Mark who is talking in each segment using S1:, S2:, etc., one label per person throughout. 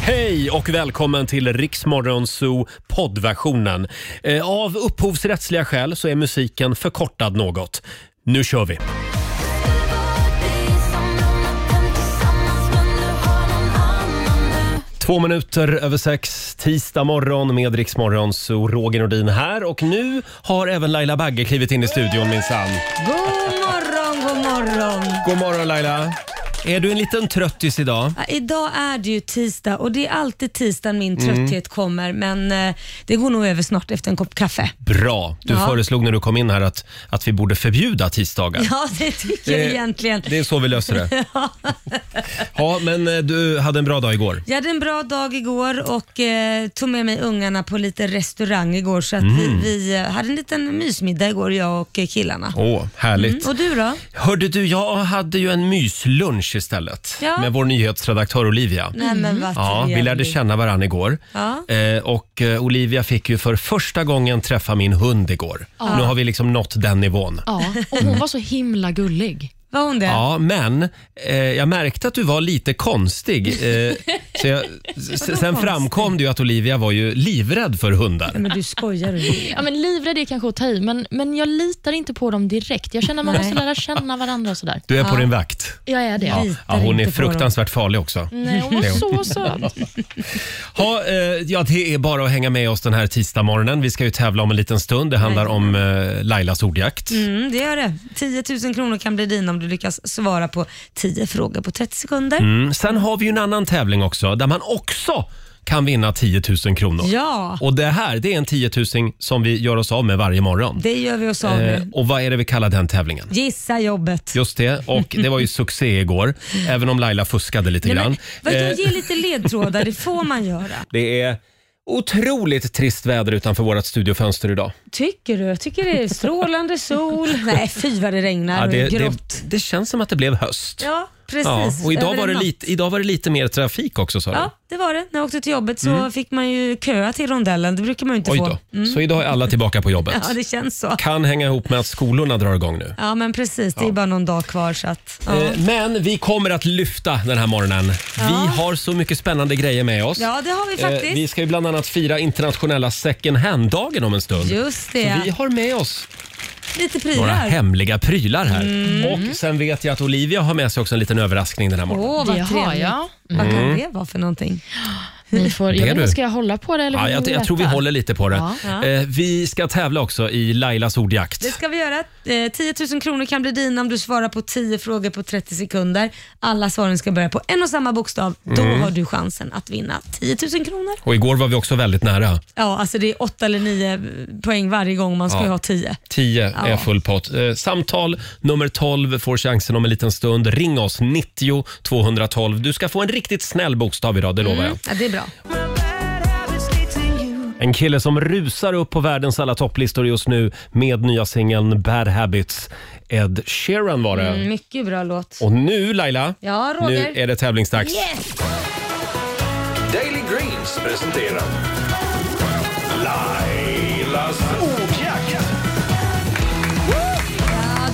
S1: Hej och välkommen till Riksmorgon Zoo poddversionen. Eh, Av upphovsrättsliga skäl så är musiken förkortad något. Nu kör vi! Två minuter över sex, tisdag morgon med Riksmorgon Zoo. Roger Nordin här och nu har även Laila Bagge klivit in i studion minsann.
S2: God morgon, god morgon.
S1: God morgon Laila! Är du en liten tröttis idag?
S2: Ja, idag är det ju tisdag och det är alltid tisdag min
S1: Mm.
S2: trötthet kommer men eh, det går nog över snart efter en kopp kaffe.
S1: Bra! Du
S2: Ja.
S1: föreslog när du kom in här att, att vi borde förbjuda tisdagar.
S2: Ja, det tycker jag
S1: Det-
S2: egentligen.
S1: Eh, Det är så vi löser det. Ja, men eh, du hade en bra dag igår.
S2: Jag hade en bra dag igår och eh, tog med mig ungarna på lite restaurang igår så att
S1: Mm.
S2: vi, vi eh, hade en liten mysmiddag igår jag och eh, killarna.
S1: Åh, härligt.
S2: Och du då?
S1: Hörde du, jag hade ju en myslunch istället
S2: Ja.
S1: med vår nyhetsredaktör Olivia.
S2: Nej men vad
S1: Mm. Ja, vi lärde
S2: trevligt.
S1: känna varandra igår.
S2: Ja.
S1: Eh, och eh, Olivia fick ju för första gången träffa min hund igår. Nu har vi liksom nått den nivån.
S3: Ja, och hon var så himla gullig.
S2: Var hon det?
S1: Ja, men eh, jag märkte att du var lite konstig. Eh, så jag, s- sen framkom det ju att Olivia var ju livrädd för hundar.
S2: Men du skojar du?
S3: Ja, men livrädd är kanske att ta i, men, men jag litar inte på dem direkt. Jag känner man måste lära känna varandra och sådär.
S1: Du är på din vakt.
S3: Jag är det. Ja.
S2: Litar
S1: Ja, hon är
S2: inte på dem.
S1: fruktansvärt farlig också.
S3: Nej, hon var
S1: Det är
S3: så söt.
S1: Ha, eh, ja, det är bara att hänga med oss den här tisdagmorgonen. Vi ska ju tävla om en liten stund. Det handlar om eh, Lailas ordjakt.
S2: Mm, det gör det. 10 000 kronor kan bli din om du lyckas svara på 10 frågor på 30 sekunder.
S1: Mm. Sen har vi ju en annan tävling också där man också kan vinna 10 000 kronor.
S2: Ja,
S1: Och det här det är en 10 000 som vi gör oss av med varje morgon.
S2: det gör vi oss av
S1: Eh,
S2: med.
S1: och vad är det vi kallar den tävlingen?
S2: Gissa jobbet.
S1: Just det, och det var ju succé igår, även om Laila fuskade lite
S2: Nej,
S1: grann.
S2: men, vadå,
S1: Eh,
S2: ge lite ledtrådar, det får man göra.
S1: det är otroligt trist väder utanför vårt studiofönster idag.
S2: Tycker du? Jag tycker det är strålande sol. Nej, fy vad det regnar
S1: Ja,
S2: och
S1: det,
S2: är
S1: det,
S2: grått.
S1: det känns som att det blev höst.
S2: Ja, precis.
S1: Ja, och idag
S2: Över
S1: var,
S2: en
S1: det
S2: natt.
S1: lite, idag var det lite mer trafik också sa du.
S2: Ja, det var det. När jag åkte till jobbet så fick man ju köa till rondellen. Det brukar man ju inte
S1: Oj
S2: få.
S1: då. Så idag är alla tillbaka på jobbet.
S2: Ja, det känns så.
S1: Kan hänga ihop med att skolorna drar igång nu.
S2: Ja, men precis. Det är bara någon dag kvar så att... Ja,
S1: Eh, Men vi kommer att lyfta den här morgonen. Vi har så mycket spännande grejer med oss.
S2: ja det har vi
S1: Eh,
S2: faktiskt.
S1: Vi ska ju bland annat fira internationella second hand-dagen om en stund.
S2: Just
S1: Så
S2: det.
S1: vi har med oss
S2: Lite
S1: några
S2: prylar.
S1: hemliga prylar här.
S2: Mm.
S1: Och sen vet jag att Olivia har med sig också en liten överraskning den här morgonen.
S2: Åh, vad
S3: Det har
S2: trevligt.
S3: jag.
S2: Vad kan det vara för någonting?
S3: Ni får,
S1: Det
S3: jag vet
S1: du.
S3: inte, ska jag hålla på det eller
S1: Ja,
S3: vill
S1: jag,
S3: ni
S1: jag tror vi
S3: veta?
S1: håller lite på det.
S3: Ja.
S1: Eh, Vi ska tävla också i Lailas ordjakt.
S2: Det ska vi göra. Eh, 10 000 kronor kan bli dina om du svarar på 10 frågor på 30 sekunder. Alla svaren ska börja på en och samma bokstav.
S1: Mm.
S2: Då har du chansen att vinna 10 000 kronor.
S1: Och igår var vi också väldigt nära.
S2: Ja, alltså det är 8 eller 9 poäng varje gång. Man ska
S1: Ja.
S2: ju ha 10.
S1: 10 är
S2: Ja.
S1: full pott. Eh, Samtal nummer 12 får chansen om en liten stund. Ring oss, 90 212. Du ska få en riktigt snäll bokstav idag, det lovar jag.
S2: Ja, det är bra.
S1: En kille som rusar upp på världens alla topplistor just nu med nya singeln Bad Habits. Ed Sheeran var det.
S2: Mm, mycket bra låt.
S1: Och nu Laila,
S2: Ja, Roger.
S1: nu är det tävlingsdags.
S2: Yes!
S4: Daily Greens presenterar Lailas ordjakt.
S2: Ja,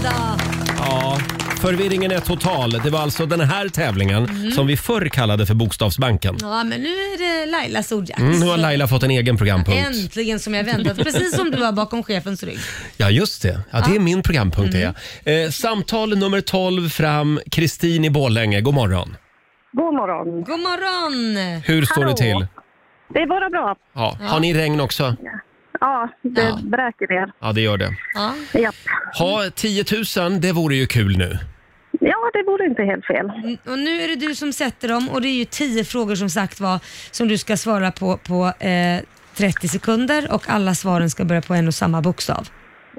S2: då.
S1: Ja, förvirringen är total. Det var alltså den här tävlingen
S2: Mm.
S1: som vi förr kallade för Bokstavsbanken.
S2: ja, men nu är det Lailas ordjakt.
S1: Mm, nu har Laila fått en egen programpunkt.
S2: Äntligen som jag väntat. Precis som du var bakom chefens rygg.
S1: Ja, just det. Ja, det är min programpunkt. det är. Eh, samtal nummer 12 fram. Kristin i Borlänge, god morgon.
S5: God morgon.
S2: God morgon!
S1: Hur står
S5: Hallå.
S1: det till?
S5: Det är bara bra.
S1: Ja. Har ni regn också?
S5: Ja, det
S2: Ja.
S5: bräker ner.
S1: Ja, det gör det.
S2: Ja.
S5: Japp. Mm.
S1: Ha 10 000, det vore ju kul nu.
S5: Ja, det vore inte helt fel.
S2: Och nu är det du som sätter dem och det är ju 10 frågor som sagt var som du ska svara på på eh, 30 sekunder och alla svaren ska börja på en och samma bokstav.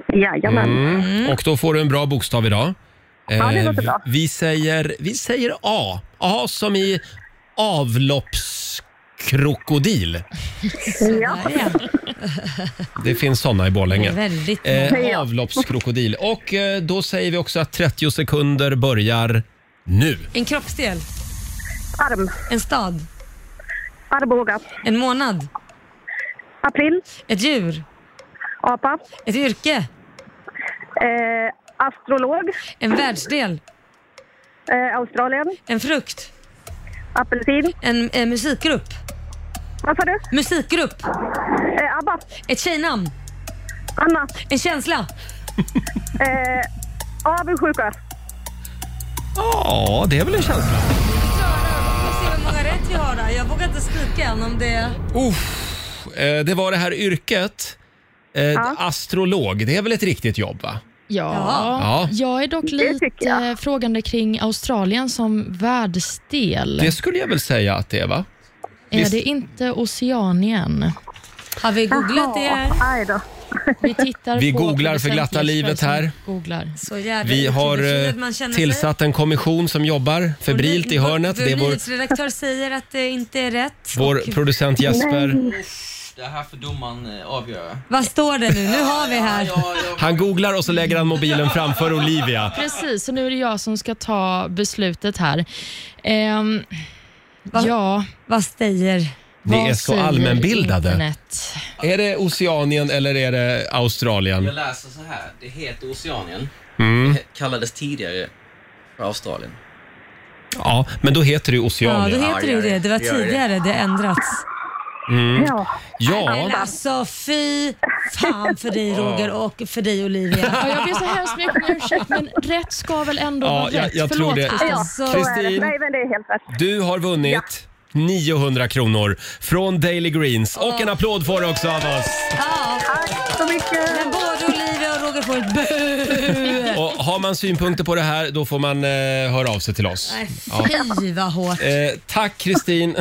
S5: Jajamän.
S1: Mm. Och då får du en bra bokstav idag.
S5: Mm. Ja, det låter
S1: Eh,
S5: bra.
S1: vi, säger, vi säger A. A som i avloppskrokodil.
S5: Ja.
S2: Där igen.
S1: Det finns såna i Borlänge.
S2: Väldigt bra.
S1: Eh, avloppskrokodil. Och eh, då säger vi också att 30 sekunder börjar nu.
S2: En kroppsdel,
S5: Arm.
S2: en stad,
S5: Arboga.
S2: en månad,
S5: April.
S2: ett djur,
S5: Apa.
S2: ett yrke,
S5: Eh, astrolog.
S2: en världsdel,
S5: Eh, Australien.
S2: en frukt,
S5: Apelsin.
S2: En eh, musikgrupp.
S5: Vad sa du?
S2: Musikgrupp.
S5: Eh, Abba.
S2: Ett tjejnamn.
S5: Anna.
S2: En känsla.
S5: Eh, avundsjuka.
S1: Ja, det är väl en känsla.
S2: Får se hur många rätt vi har där. Jag vågar inte skrika än om det...
S1: Uff, eh, det var det här yrket. Eh, Astrolog, det är väl ett riktigt jobb va?
S3: Ja.
S1: Ja.
S3: Jag är dock lite
S5: tycker jag.
S3: eh, frågande kring Australien som världsdel.
S1: Det skulle jag väl säga att det är va?
S3: är
S1: visst.
S3: det inte Oceanien?
S2: Har vi googlat det här?
S5: Aj då.
S3: Vi, tittar
S1: Vi
S3: på
S1: googlar för glatta
S3: producent
S1: livet
S3: Jesper
S1: här.
S3: som Googlar.
S2: Så jävla
S1: Vi har
S2: otroligt
S1: eh,
S2: att man känner sig-
S1: tillsatt en kommission som jobbar febrilt i hörnet.
S2: Vår,
S1: Det är vår,
S2: nyhetsredaktör säger att det inte är rätt.
S1: vår producent Jesper.
S6: Det här får domaren eh, avgöra.
S2: Vad står det nu? Nu har vi här.
S6: Ja, jag
S1: Han googlar och så lägger han mobilen framför Olivia.
S3: Precis, så nu är det jag som ska ta beslutet här. Ehm, ja,
S2: Vad säger?
S1: Ni
S3: vad
S1: är så
S3: säger
S1: allmänbildade.
S3: internet?
S1: Är det Oceanien eller är det
S6: jag
S1: Australien?
S6: läser så här. Det heter Oceanien. Det kallades tidigare för Australien.
S1: Ja, men då heter det
S2: Ja, då
S1: Oceanien.
S2: heter det
S6: gör
S2: ju det.
S6: det.
S2: Det var
S6: Gör det.
S2: tidigare. Det har ändrats.
S5: Ja.
S1: Ja,
S2: Men alltså fy fan för dig Roger och för dig
S3: Ja,
S2: Olivia.
S3: jag ber så hemskt mycket om ursäkt, men rätt ska väl ändå
S1: Ja,
S3: vara
S1: jag-
S3: rätt?
S1: jag
S3: Förlåt,
S1: tror det.
S3: Kristin.
S5: Ja,
S2: Alltså,
S5: så är det.
S1: Kristin.
S5: Nej, men det är helt rätt.
S1: du har vunnit 900 kronor från Daily Greens. Och en applåd får du också av oss.
S2: Ja,
S5: Tack så mycket.
S2: men både Olivia och Roger får ett bö.
S1: Och har man synpunkter på det här då får man eh, höra av sig till oss.
S2: Nej, Fy vad hårt.
S1: Eh, tack Kristin.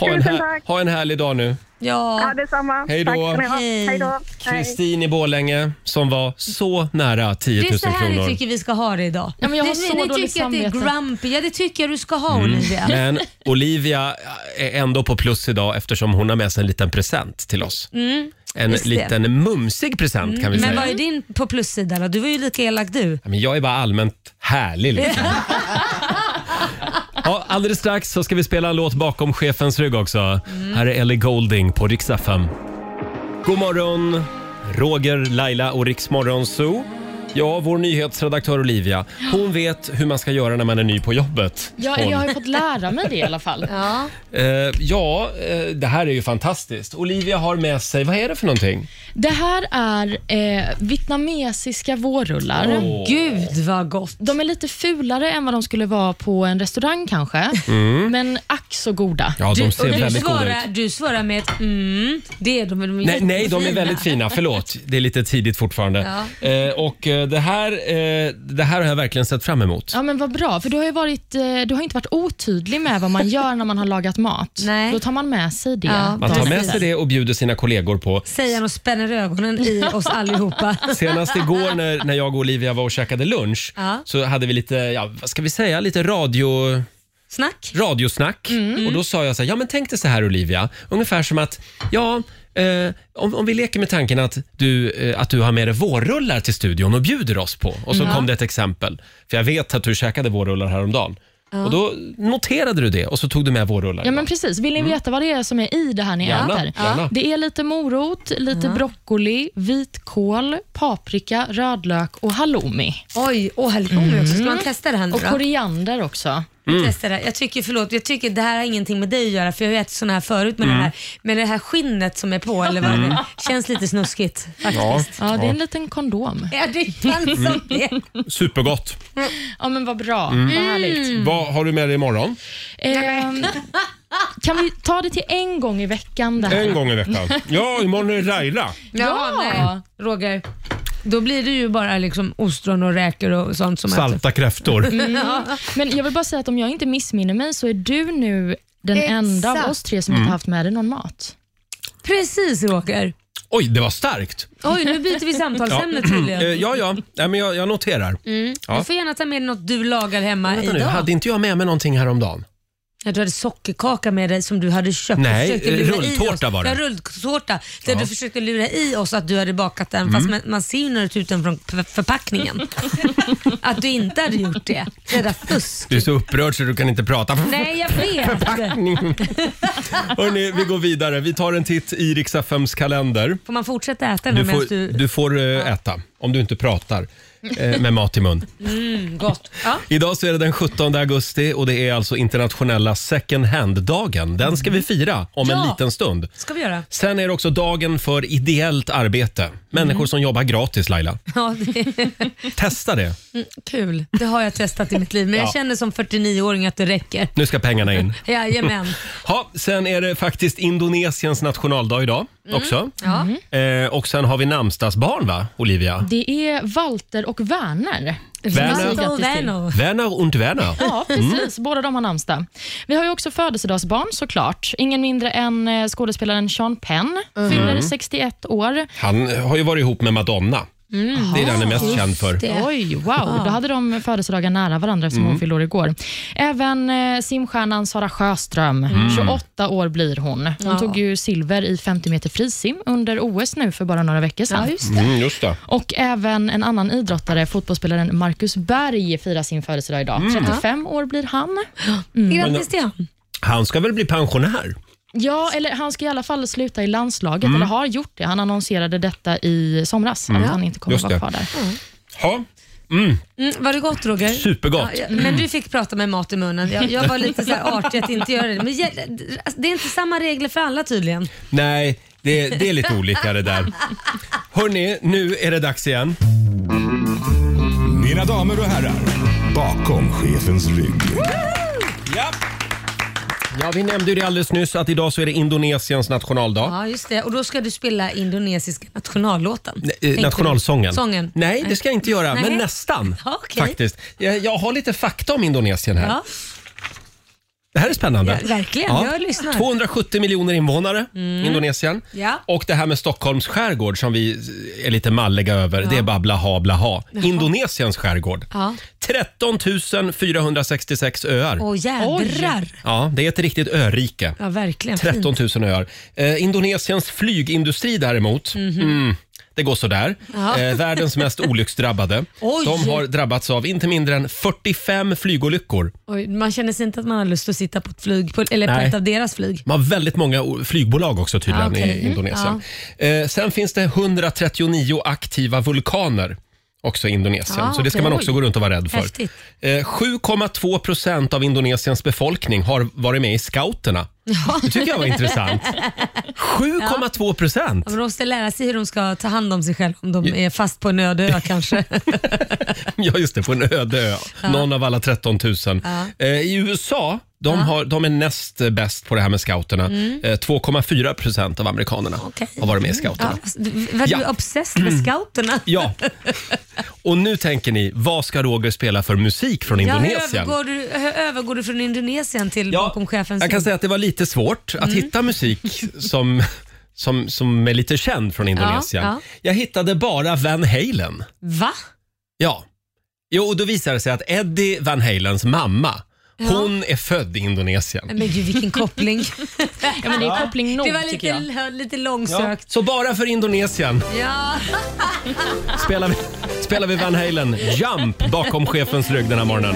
S1: Ha, en
S5: Tusen
S1: här-
S5: tack.
S1: ha en härlig dag nu.
S5: Ja,
S2: Ja,
S5: detsamma.
S1: Hej då.
S5: Tack ska ni ha.
S2: Hej.
S5: Hej då. Hej.
S1: Kristin i Borlänge som var så nära 10
S2: det
S1: 000
S2: är så här jag
S1: kronor.
S2: tycker vi ska ha det idag.
S3: Ja, men jag har
S2: ni,
S3: så
S2: ni, ni
S3: dåligt
S2: tycker att det är
S3: samvete.
S2: grumpy. Ja, det tycker jag du ska ha Olivia.
S1: Men Olivia eh, är ändå på plus idag eftersom hon har med sig en liten present till oss. en
S2: Mm. just det. Mm.
S1: liten mumsig present kan vi
S2: Men
S1: säga.
S2: vad är din på plussida då? Du var ju lika elak du.
S1: Ja, Men jag är bara allmänt härlig liksom. ja, alldeles strax så ska vi spela en låt bakom chefens rygg också. Här är Ellie Golding på Rix FM. God morgon, Roger, Laila och Rix Morgon Zoo. Ja, vår nyhetsredaktör Olivia, hon vet hur man ska göra när man är ny på jobbet.
S3: Ja,
S1: Hon.
S3: jag har ju fått lära mig det i alla fall.
S2: Ja.
S1: Eh, ja, eh, det här är ju fantastiskt. Olivia har med sig, vad är det för någonting?
S3: Det här är eh, vietnamesiska vårrullar.
S2: Gud vad gott.
S3: De är lite fulare än vad de skulle vara på en restaurang kanske,
S1: Mm.
S3: men ack så goda.
S1: Ja, de
S2: och
S1: ser
S2: du,
S1: väldigt goda ut.
S2: svarar, du svarar med ett mm. Det är de, de är
S1: Nej, nej, de är
S2: jättefina.
S1: väldigt fina. Förlåt, det är lite tidigt fortfarande. Eh, och eh, det här, eh, det här har jag verkligen sett fram emot.
S3: Ja men vad bra, för du har ju varit, eh, du har inte varit otydlig med vad man gör när man har lagat mat.
S2: Nej.
S3: Då tar man med sig det.
S2: Ja,
S1: Man tar med
S2: precis.
S1: sig det och bjuder sina kollegor på.
S2: Säger han och spänner ögonen i oss allihopa.
S1: Senast igår när, när jag och Olivia var och käkade lunch
S2: Ja.
S1: så hade vi lite, ja, vad ska vi säga, lite radio,
S2: Snack.
S1: radiosnack.
S3: Mm.
S1: Och då sa jag så här, ja men tänk dig så här Olivia, ungefär som att, ja, eh, om, om vi leker med tanken att du, eh, att du har med dig vårrullar till studion och bjuder oss på. Och så kom det ett exempel, för jag vet att du käkade vårrullar häromdagen. Och då noterade du det och så tog du med vårrullar.
S3: Ja men
S1: idag.
S3: precis. Vill ni veta vad det är som är i det här ni
S1: Mm. Gärna,
S3: äter?
S1: gärna.
S3: Det är lite morot, lite broccoli, vitkål, paprika, rödlök och halloumi.
S2: Oj, åh halloumi också. Ska man testa det här nu
S3: Och
S2: då?
S3: koriander också.
S1: Mm.
S2: Testa det. här. Jag tycker, förlåt, jag tycker det här har ingenting med dig att göra för jag har ju ätit såna här förut med
S1: Mm.
S2: det här. Men det här skinnet som är på eller vad det är, känns lite snuskigt faktiskt.
S3: Ja, det är en liten kondom.
S2: Ja, det känns
S1: Mm.
S2: som det.
S1: Supergott.
S3: Ja men vad bra,
S1: Mm.
S3: vad härligt.
S1: Vad har du med dig imorgon?
S3: Ehm, kan vi ta det till en gång i veckan? Det här?
S1: En gång i veckan. Ja, imorgon är det Laila.
S2: Ja, nej. Roger. Då blir det ju bara liksom ostron och räkor och sånt som äter.
S1: Salta kräftor.
S3: Mm. Men jag vill bara säga att om jag inte missminner mig så är du nu den
S2: Exakt.
S3: enda av oss tre som inte haft med dig någon mat.
S2: Precis Roger.
S1: Oj, det var starkt.
S2: Oj, nu byter vi samtalsämne
S1: Eh,
S2: tydligen.
S1: ja, ja. Nej, men jag, jag noterar.
S3: Mm.
S2: Du får gärna ta med något du lagar hemma
S1: Vänta nu,
S2: idag.
S1: hade inte jag med mig någonting häromdagen?
S2: Ja, du hade sockerkaka med dig som du hade köpt.
S1: Nej,
S2: Du försökte lura i
S1: rulltårta
S2: oss.
S1: var det.
S2: Ja, rulltårta. Där du försökte lura i oss att du hade bakat den
S1: Mm.
S2: fast man, man ser ju när du tar ut den från p- förpackningen. att du inte hade gjort det. Det där fusk.
S1: Du är så upprörd så du kan inte prata.
S2: Nej, jag vet.
S1: Hörni, vi går vidare. Vi tar en titt i Riksaffems kalender.
S2: Får man fortsätta äta den
S1: Du
S2: här medan
S1: får,
S2: du...
S1: du får eh, äta om du inte pratar. eh, med mat i mun.
S2: Mm, gott. Ja.
S1: Idag så är det den 17 augusti och det är alltså internationella second hand-dagen. Den ska vi fira om en
S2: Ja.
S1: liten stund.
S2: ska vi göra.
S1: Sen är det också dagen för ideellt arbete.
S2: Mm.
S1: Människor som jobbar gratis, Laila.
S2: Ja, det
S1: Testa det.
S2: kul. Det har jag testat i mitt liv, men
S1: Ja.
S2: jag känner som 49-åring att det räcker.
S1: Nu ska pengarna in.
S2: Jajamän.
S1: Ha, sen är det faktiskt Indonesiens nationaldag idag också.
S2: Mm. Ja. Mm.
S1: Eh, och sen har vi namnsdagsbarn, va, Olivia?
S3: Det är Walter och Werner.
S1: Werner.
S3: Grattis
S2: Walter och
S3: till.
S2: Werner.
S1: Werner und Werner.
S3: Ja,
S2: Mm.
S3: precis. Båda de har namnsdag. Vi har ju också födelsedagsbarn såklart. Ingen mindre än eh, skådespelaren Sean Penn,
S2: Mm.
S3: fyller 61 år.
S1: Han har ju varit ihop med Madonna. Det är den han är mest känd för.
S2: Mm. Det.
S3: Oj, wow. Då hade de födelsedagar nära varandra eftersom hon fyllde år igår. Även eh, simstjärnan Sara Sjöström, 28 år blir hon. Hon
S2: Ja.
S3: tog ju silver i 50 meter frisim under OS nu för bara några veckor sedan.
S2: Ja, just det.
S1: Mm, just det.
S3: Och även en annan idrottare, fotbollsspelaren Marcus Berg, firar sin födelsedag idag.
S1: Mm.
S3: 35 år blir han.
S2: Mm. Grattis till han.
S1: Han ska väl bli pensionär?
S3: Ja, eller han ska i alla fall sluta i landslaget,
S1: Mm.
S3: eller har gjort det. Han annonserade detta i somras, att han inte kommer
S1: Just
S3: vara
S1: det.
S3: kvar där.
S1: Ja,
S2: Mm, var det gott Roger?
S1: Supergott.
S2: Ja, ja, men du fick prata med mat i munnen. Jag, jag var lite så här artig att inte göra det. Men ge- det är inte samma regler för alla tydligen.
S1: Nej, det, det är lite olika det där. Hörni, nu är det dags igen.
S7: Mina damer och herrar, bakom chefens rygg.
S1: Ja. ja, vi nämnde ju det alldeles nyss att idag så är det Indonesiens nationaldag.
S2: Ja, just det. Och då ska du spela indonesiska nationallåten.
S1: Eh,
S2: Tänkte du?
S1: Nationalsången.
S2: Sången.
S1: Nej, det ska jag inte göra,
S2: Nej.
S1: men nästan.
S2: Ja, okej.
S1: Faktiskt. Jag, jag har lite fakta om Indonesien här.
S2: Ja.
S1: Det här är spännande.
S2: Ja, verkligen. Jag lyssnar. Mm.
S1: 270 miljoner invånare, Indonesien.
S2: Ja.
S1: Och det här med Stockholms skärgård som vi är lite malliga över, det är bara blaha blaha. Indonesiens skärgård.
S2: Ja.
S1: 13 466 öar.
S2: Åh jädrar.
S1: Ja, det är ett riktigt örike.
S2: Ja, verkligen. Fint.
S1: 13 000 öar. Eh, Indonesiens flygindustri däremot, mm, det går sådär.
S2: Mhm. Ja.
S1: Eh, världens mest olycksdrabbade.
S2: Oj.
S1: De har drabbats av inte mindre än 45 flygolyckor.
S2: Oj, man känner sig inte att man har lust att sitta på ett flyg, på, eller på
S1: Nej.
S2: ett av deras flyg.
S1: De har väldigt många o- flygbolag också tydligen
S2: Ja, Ah, okej. Mm-hmm.
S1: i Indonesien. Eh, sen finns det 139 aktiva vulkaner också i Indonesien,
S2: Ja,
S1: så det ska
S2: Ah, okej.
S1: man också gå runt och vara rädd för.
S2: Häftigt.
S1: Eh, 7,2 procent av Indonesiens befolkning har varit med i scouterna. Det tycker jag var intressant. 7,2 procent!
S2: Men de måste lära sig hur de ska ta hand om sig själva om de är fast på en öde ö kanske.
S1: Ja, just det. På en öde ö. Någon av alla 13 000. Eh, I USA, de, har, de är näst eh, bäst på det här med scouterna. Eh, 2,4 procent av amerikanerna
S2: Mm. Okej.
S1: har varit med i
S2: Ja,
S1: scouterna.
S2: alltså, du- var du
S1: Ja. Mm.
S2: obsessed med scouterna?
S1: Ja. Och nu tänker ni, vad ska Roger spela för musik från
S2: Ja, hur
S1: Indonesien?
S2: övergår, du, hur övergår du från Indonesien till
S1: Ja,
S2: bakom chefens Mm.
S1: jag kan säga att det var lite svårt att hitta musik som, som, som är lite känd från Indonesien.
S2: ja.
S1: Jag hittade bara Van Halen.
S2: Va?
S1: Ja. Jo, och då visade det sig att Eddie Van Halens mamma, hon är född i Indonesien.
S2: Men gud vilken koppling.
S3: Ja, men det
S1: Mm.
S3: är koppling nog,
S2: det var
S3: tycker jag.
S2: lite, lite
S1: Ja.
S2: långsökt.
S1: Så bara för Indonesien
S2: Ja.
S1: spelar vi, spelar vi Van Halen Jump bakom chefens rygg den här morgonen.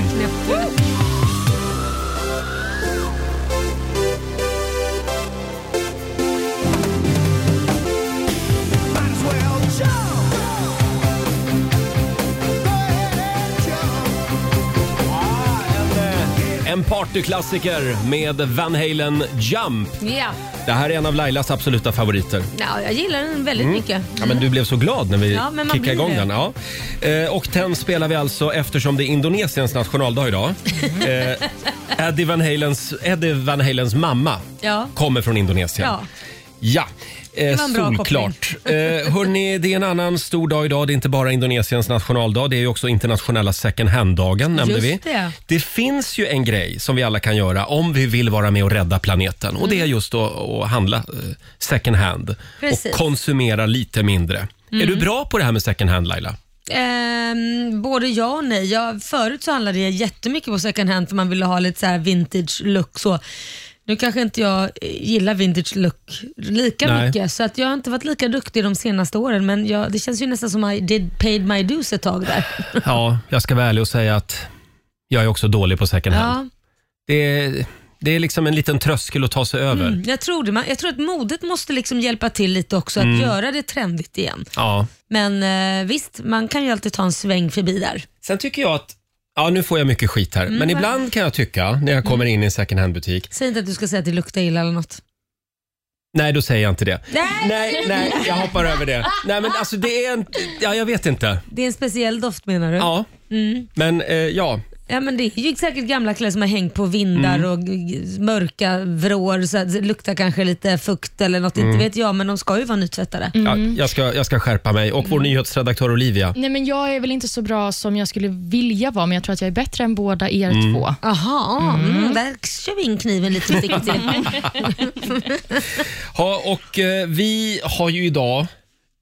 S1: En partyklassiker med Van Halen Jump.
S2: Ja.
S1: Det här är en av Lailas absoluta favoriter.
S2: ja, jag gillar den väldigt
S1: Mm.
S2: mycket.
S1: Ja, men du blev så glad när vi
S2: Ja, men man
S1: kickade
S2: blir
S1: igång
S2: det.
S1: den. Ja. Eh, och den spelar vi alltså eftersom det är Indonesiens nationaldag idag. Eh, Eddie, Van Halens, Eddie Van Halens mamma
S2: Ja.
S1: kommer från Indonesien.
S2: Ja.
S1: Ja, eh,
S2: var en bra
S1: solklart. Eh, hörni, det är en annan stor dag idag. Det är inte bara Indonesiens nationaldag, det är ju också internationella second hand-dagen nämnde
S2: Just
S1: vi.
S2: det.
S1: det finns ju en grej som vi alla kan göra om vi vill vara med och rädda planeten och det
S2: Mm.
S1: är just att, att handla eh, second hand
S2: Precis. Mm.
S1: och konsumera lite mindre. Är du bra på det här med second hand Laila?
S2: Ehm, både ja och nej. Jag, förut så handlade jag jättemycket på second hand för man ville ha lite så här vintage look. Så. Nu kanske inte jag eh, gillar vintage look lika
S1: Nej.
S2: mycket så att jag har inte varit lika duktig de senaste åren men jag, det känns ju nästan som I did paid my dues ett tag där.
S1: Ja, jag ska vara ärlig och säga att jag är också dålig på second hand.
S2: Ja,
S1: Det, det är liksom en liten tröskel att ta sig över.
S2: Mm, jag, tror det. Man, jag tror att modet måste liksom hjälpa till lite också,
S1: Mm.
S2: att göra det trendigt igen.
S1: Ja.
S2: Men eh, visst, man kan ju alltid ta en sväng förbi där.
S1: Sen tycker jag att Ja, nu får jag mycket skit
S2: Mm,
S1: här. Men ibland kan jag tycka, när jag kommer in i en second hand-butik,
S2: Säg inte att du ska säga att det luktar illa eller något.
S1: nej då säger jag inte det.
S2: Nej!
S1: Nej, nej, jag hoppar över det. Nej, men alltså det är en... Ja, jag vet inte.
S2: Det är en speciell doft menar du?
S1: Ja. Men eh, ja,
S2: Ja, men det är ju säkert gamla kläder som har hängt på vindar
S1: Mm.
S2: och g- mörka vrår. Så att det luktar kanske lite fukt eller något,
S1: Mm.
S2: inte vet jag, men de ska ju vara nytvättade.
S1: ja jag, ska, jag ska skärpa mig. Och vår nyhetsredaktör Olivia.
S3: Nej, men jag är väl inte så bra som jag skulle vilja vara, men jag tror att jag är bättre än båda er
S1: Mm.
S3: två.
S2: Jaha, mm. där kör vi in kniven lite försiktigt.
S1: Mm. Ja, och eh, vi har ju idag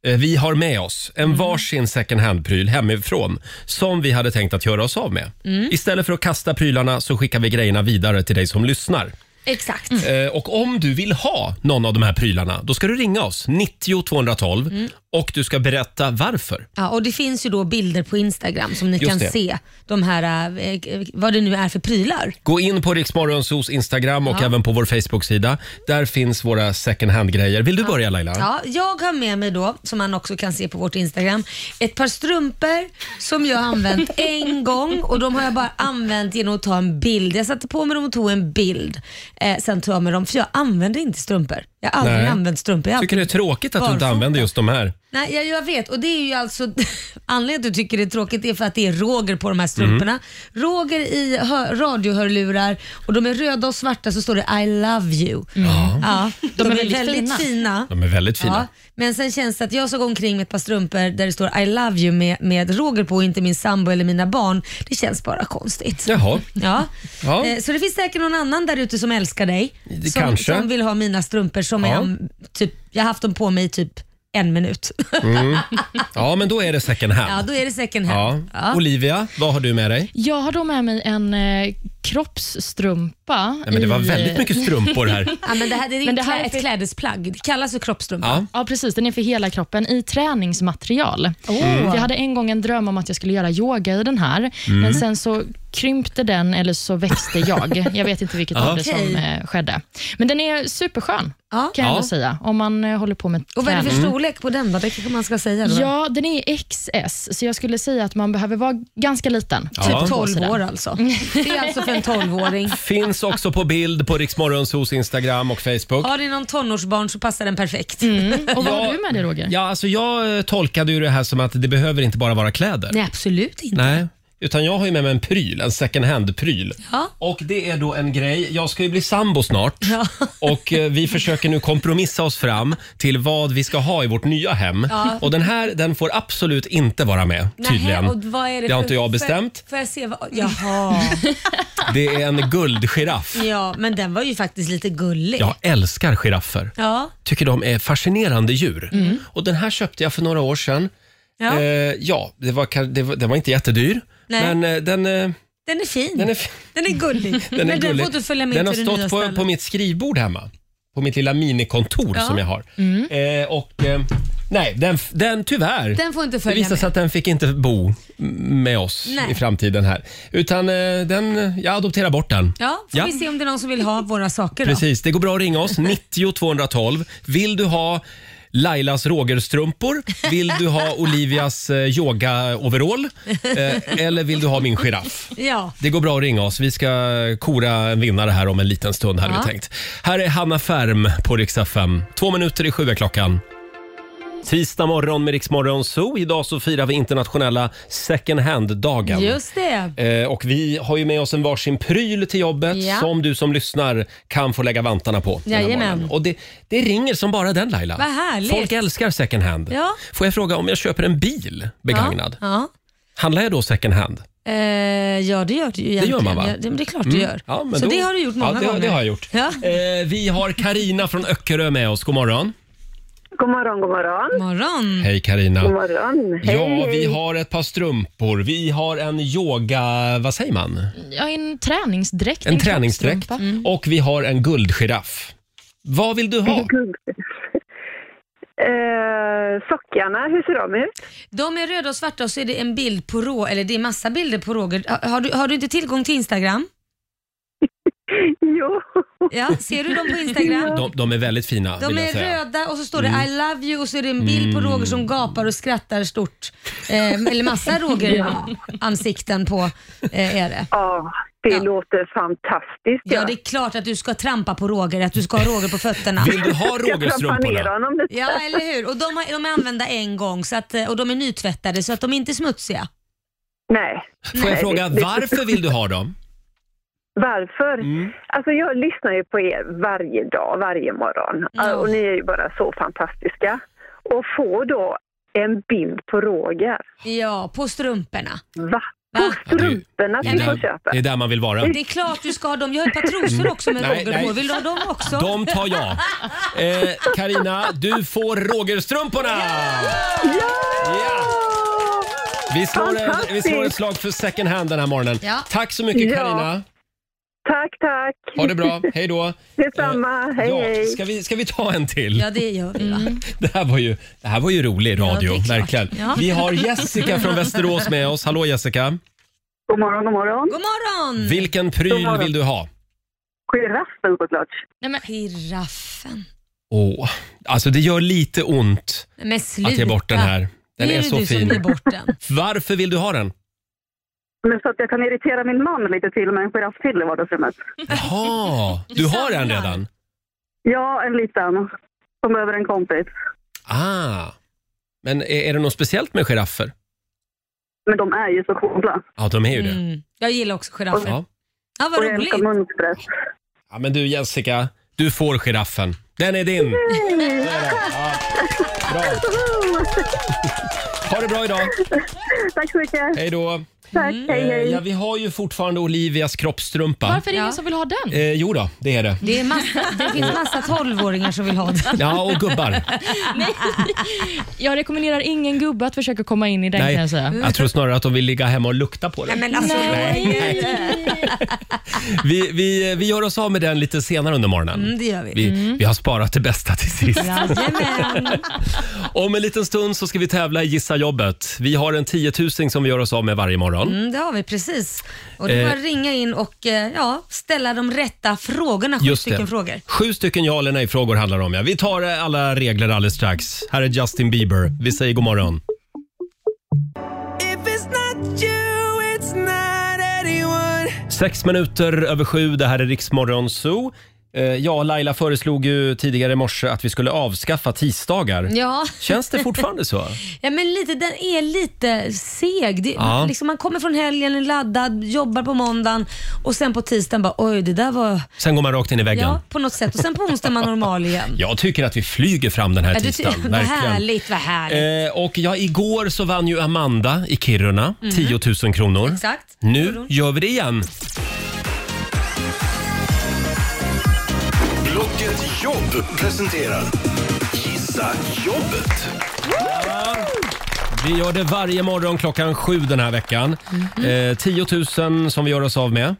S1: eh, vi har med oss en varsin second hand-pryl hemifrån som vi hade tänkt att göra oss av med. Istället för att kasta prylarna så skickar vi grejerna vidare till dig som lyssnar.
S2: Exakt.
S1: Eh, Och om du vill ha någon av de här prylarna, då ska du ringa oss, 90 212, och du ska berätta varför.
S2: Ja, och det finns ju då bilder på Instagram som ni
S1: Just
S2: kan
S1: det.
S2: se de här, eh, eh, vad det nu är för prylar.
S1: Gå in på Riksmorgonsos Instagram och även på vår Facebook-sida. Där finns våra second hand-grejer. Vill du börja Laila?
S2: Ja, jag har med mig då, som man också kan se på vårt Instagram, ett par strumpor som jag har använt en gång och de har jag bara använt genom att ta en bild. Jag satte på mig dem och tog en bild. Eh, sen tog jag med dem, för jag använder inte strumpor. Jag har aldrig
S1: Nej.
S2: använt strumpor. Jag har
S1: Tycker det är tråkigt att du inte
S2: Barfota.
S1: använder just de här.
S2: Nej, jag, jag vet. Och det är ju alltså Anledningen till att du tycker det är tråkigt är för att det är Roger på de här strumporna.
S1: Mm.
S2: Roger i hö- radiohörlurar och de är röda och svarta så står det I love you. Ja, de, är väldigt, fina.
S1: De är väldigt
S2: Ja,
S1: fina.
S2: men sen känns det att jag ska gå omkring med ett par strumpor där det står I love you med, med Roger på och inte min sambo eller mina barn. Det känns bara konstigt.
S1: Jaha.
S2: Ja.
S1: Ja.
S2: Eh, Så det finns säkert någon annan där ute som älskar dig.
S1: Det
S2: som,
S1: kanske.
S2: som vill ha mina strumpor som
S1: Ja.
S2: jag, typ, jag har haft dem på mig i typ en minut.
S1: Ja, men då är det second hand.
S2: Ja, då är det second
S1: Ja.
S2: hand. Ja.
S1: Olivia, vad har du med dig?
S3: Jag har då med mig en eh, kroppsstrumpa.
S1: Nej, men det var
S2: Mm.
S3: i-
S1: väldigt mycket strumpor här.
S2: Ja, men det här det är,
S3: Men
S2: men
S3: det här är
S2: ett
S3: för-
S2: klädesplagg. Det kallas för kroppstrumpa.
S1: Ja.
S3: Ja, precis. Den är för hela kroppen i träningsmaterial. Mm. Jag hade en gång en dröm om att jag skulle göra yoga i den här,
S2: Mm.
S3: men sen så krympte den eller så växte jag. Jag vet inte vilket av det
S2: Okej.
S3: som eh, skedde. Men den är superskön,
S2: Ja.
S3: kan jag
S1: Ja.
S3: ändå säga, om man eh, håller på med
S2: Och vad är det
S1: Mm.
S3: träning.
S2: för storlek på den då? Det kanske man ska säga då.
S3: Ja, den är XS, så jag skulle säga att man behöver vara ganska liten.
S1: Ja.
S2: Typ
S3: på sig
S2: 12
S3: den.
S2: år alltså. Det är alltså för en 12-åring.
S1: Finns också på bild på Riksmorgonsos Instagram och Facebook.
S2: Har ni någon tonårsbarn så passar den perfekt.
S3: Och vad
S1: Ja.
S3: har du med dig Roger?
S1: Ja, alltså jag eh, tolkade ju det här som att det behöver inte bara vara kläder.
S2: Nej, absolut inte.
S1: Nej, utan jag har ju med mig en pryl, en second hand-pryl.
S2: Ja.
S1: Och det är då en grej, jag ska ju bli sambo snart
S2: Ja.
S1: och eh, vi försöker nu kompromissa oss fram till vad vi ska ha i vårt nya hem. Och den här, den får absolut inte vara med tydligen.
S2: Nähä, och vad är det,
S1: Det har
S2: för-
S1: inte jag
S2: får
S1: bestämt.
S2: Får jag se vad... Jaha.
S1: Det är en guldgiraff.
S2: Ja, men den var ju faktiskt lite gullig.
S1: Jag älskar giraffer.
S2: Ja.
S1: Tycker de är fascinerande djur. Och den här köpte jag för några år sedan.
S2: Mm. Ja.
S1: Eh, ja, det var, ka- det var, den var inte jättedyr.
S2: Nej.
S1: Men eh, den, eh,
S2: Den är fin.
S1: den är...
S2: Den är gullig.
S1: Den är
S2: men den
S1: gullig.
S2: får du följa med
S1: den har
S2: till det nya
S1: stått på,
S2: stället.
S1: på mitt skrivbord hemma. På mitt lilla minikontor som jag har. Eh, och, eh, nej, den, den tyvärr.
S2: Mm. Den får inte
S1: det
S2: följa
S1: visade
S2: med.
S1: sig att den fick inte bo m- med oss
S2: Nej.
S1: i framtiden här. Utan eh, den, jag adopterar bort den.
S2: Ja, får
S1: Ja.
S2: vi se om det är någon som vill ha våra saker då.
S1: Precis, det går bra att ringa oss, 90 212. Vill du ha Lailas Roger-strumpor? Vill du ha Olivias eh, yoga-overall? Eh, eller vill du ha min giraff?
S2: Ja.
S1: Det går bra att ringa oss. Vi ska kora en vinnare här om en liten stund. Hade vi
S2: Ja.
S1: tänkt. Här är Hanna Färm på Rix FM. Två minuter i sju är klockan. Tisdag morgon med Rix Morgon Zoo. Idag så firar vi internationella second hand-dagen.
S2: Just det.
S1: Eh, och vi har ju med oss en varsin pryl till jobbet
S2: Ja.
S1: som du som lyssnar kan få lägga vantarna på. den här
S2: Jajamän.
S1: morgonen. Och det, det ringer som bara den Laila.
S2: Vad härligt.
S1: Folk älskar second hand.
S2: Ja.
S1: Får jag fråga om jag köper en bil begagnad,
S2: Ja.
S1: handlar jag då second hand?
S2: Eh, ja, det gör du ju egentligen.
S1: gör man, va? Mm.
S2: Ja, det, men det är klart du gör.
S1: Ja, men
S2: så
S1: då-
S2: det har du gjort många
S1: ja, det,
S2: gånger.
S1: Det har jag gjort.
S2: Ja.
S1: Eh, vi har Karina från Öckerö med oss. God morgon.
S5: God morgon, god morgon.
S2: Morgon.
S1: Hej
S5: God
S1: Karina.
S5: morgon.
S1: Ja, vi har ett par strumpor. Vi har en yoga... Vad säger man?
S3: Ja, en träningsdräkt.
S1: En träningsdräkt.
S2: Mm.
S3: kroppsstrumpa.
S1: Och vi har en guldgiraff. Vad vill du ha?
S5: Eh, sockarna, hur ser de ut?
S2: De är röda och svarta och så är det en bild på Roger, eller det är massa bilder på Roger. Ha- Har du, har du inte tillgång till Instagram?
S5: Jo, Jo.
S2: Ja, ser du dem på Instagram?
S1: De, de är väldigt fina
S2: De
S1: vill jag
S2: är
S1: säga. Mm.
S2: röda och så står det I love you och så är det en bild på Roger som gapar och skrattar stort. Eh, eller massa Roger-ansikten på eh, är det.
S5: Ja, det
S2: Ja.
S5: låter fantastiskt.
S2: Ja, det är klart att du ska trampa på Roger, att du ska ha Roger på fötterna.
S1: Vill du ha
S5: jag trampar ner
S1: Rogerstrumporna?
S5: honom lite.
S2: Ja, eller hur? Och de, har, de är använda en gång så att, eh, och de är nytvättade så att de inte är smutsiga.
S5: Nej.
S1: Får jag
S5: Nej,
S1: fråga,
S5: det- det-
S1: varför vill du ha dem?
S5: Varför?
S1: Mm.
S5: Alltså jag lyssnar ju på er varje dag, varje morgon. Äh,
S2: Ja.
S5: Och ni är ju bara så fantastiska. Och få då en bild på Roger.
S2: Ja, på strumporna.
S5: Va?
S2: Va?
S5: På strumporna
S1: Det är,
S5: som du får
S1: där,
S5: köpa.
S1: det är där man vill vara.
S2: Det är klart du ska ha dem. Jag har ett par trosor också med
S1: Mm. Nej,
S2: Roger
S1: nej.
S2: på. Vill du ha dem också?
S1: De tar jag. Eh, Karina, du får Rogerstrumporna! Ja! Vi slår, en, vi slår ett
S5: Fantastiskt.
S1: slag för second hand den här morgonen.
S2: Ja.
S1: Tack så mycket
S5: Ja.
S1: Karina.
S5: Tack, tack.
S1: Ha det bra. Hej då. Eh,
S5: Detsamma. hej,
S1: ja,
S5: hej.
S1: Ska, vi, ska vi ta en till?
S2: Ja, det gör vi va?
S1: Det, här var ju, det här var ju rolig radio,
S2: det är klart.
S1: verkligen.
S2: Ja. Mm.
S1: Vi har Jessica från Västerås med oss. Hallå Jessica.
S5: God morgon, god morgon.
S2: God morgon!
S1: Vilken pryl
S5: morgon.
S1: vill du ha?
S5: Giraffen såklart.
S3: Nej, men,
S2: Giraffen.
S1: Åh, alltså det gör lite ont
S2: Nej, Men sluta.
S1: att ge bort den här. Den
S2: det
S1: är
S2: ju
S1: så
S2: du som ger
S1: fin.
S2: bort den.
S1: Varför vill du ha den?
S5: Men så att jag kan irritera min man lite till med en giraff till i vardagsrummet.
S1: Jaha, du har den
S2: samlar.
S1: redan?
S5: Ja, en liten. Som behöver en kompis.
S1: Ah. Men är, är det något speciellt med giraffer?
S5: Men de är ju så coola.
S1: Ja, de är ju det.
S2: Mm. Jag gillar också giraffer. Ja,
S1: Ja.
S2: vad
S5: Och jag
S2: roligt.
S5: älskar munstress.
S1: ja, men du Jessica, du får giraffen. Den är din! Det är den. Ja. Bra. Ha det bra idag.
S5: Tack så mycket.
S1: Hej då.
S5: Tack,
S2: Mm.
S5: hej,
S1: Eh,
S5: hej.
S1: Ja, vi har ju fortfarande Olivias kroppstrumpa.
S3: varför är det
S2: Ja.
S3: ingen som vill ha den?
S1: Eh, jo då, det är det.
S2: Det, är massa, det
S1: Mm.
S2: finns massa tolvåringar som vill ha den.
S1: Ja, och gubbar.
S3: Jag rekommenderar ingen gubbe att försöka komma in i den
S1: Nej,
S3: kan jag säga.
S1: jag tror snarare att de vill ligga hemma och lukta på
S2: Nej,
S1: den.
S2: men alltså,
S1: Vi, vi, vi gör oss av med den lite senare under morgonen.
S2: Mm, det gör vi.
S1: Vi, vi har sparat det bästa till sist.
S2: Jajamän.
S1: Om en liten stund så ska vi tävla i Gissa jobbet. Vi har en tiotusing som vi gör oss av med varje morgon.
S2: Mm, det har vi precis. Och det är bara att ringa in och eh, ja, ställa de rätta frågorna, sju
S1: Just det.
S2: stycken frågor.
S1: Sju stycken ja eller nej-frågor handlar det om. Ja. Vi tar eh, alla regler alldeles strax. Här är Justin Bieber. Vi säger god morgon. Sex minuter över sju. Det här är Riksmorgon Zoo. Eh, Ja, Laila föreslog ju tidigare i morse att vi skulle avskaffa tisdagar.
S2: Ja.
S1: Känns det fortfarande så?
S2: Ja, men lite, den är lite seg. Det,
S1: Ja.
S2: liksom, man kommer från helgen är laddad, jobbar på måndagen och sen på tisdagen bara oj det där var...
S1: Sen går man rakt in i väggen.
S2: Ja, på något sätt. Och sen på onsdag är man normal igen.
S1: Jag tycker att vi flyger fram den här
S2: Ja, du,
S1: tisdagen.
S2: vad
S1: verkligen.
S2: härligt, vad härligt. Mhm.
S1: Eh, och ja, igår så vann ju Amanda i Kiruna 10 000 kronor.
S2: Exakt.
S1: Nu gör vi det igen.
S4: Blocket Jobb presenterar Gissa Jobbet.
S1: Vi gör det varje morgon klockan sju den här veckan.
S2: Mhm.
S1: Eh, 10 000 som vi gör oss av med.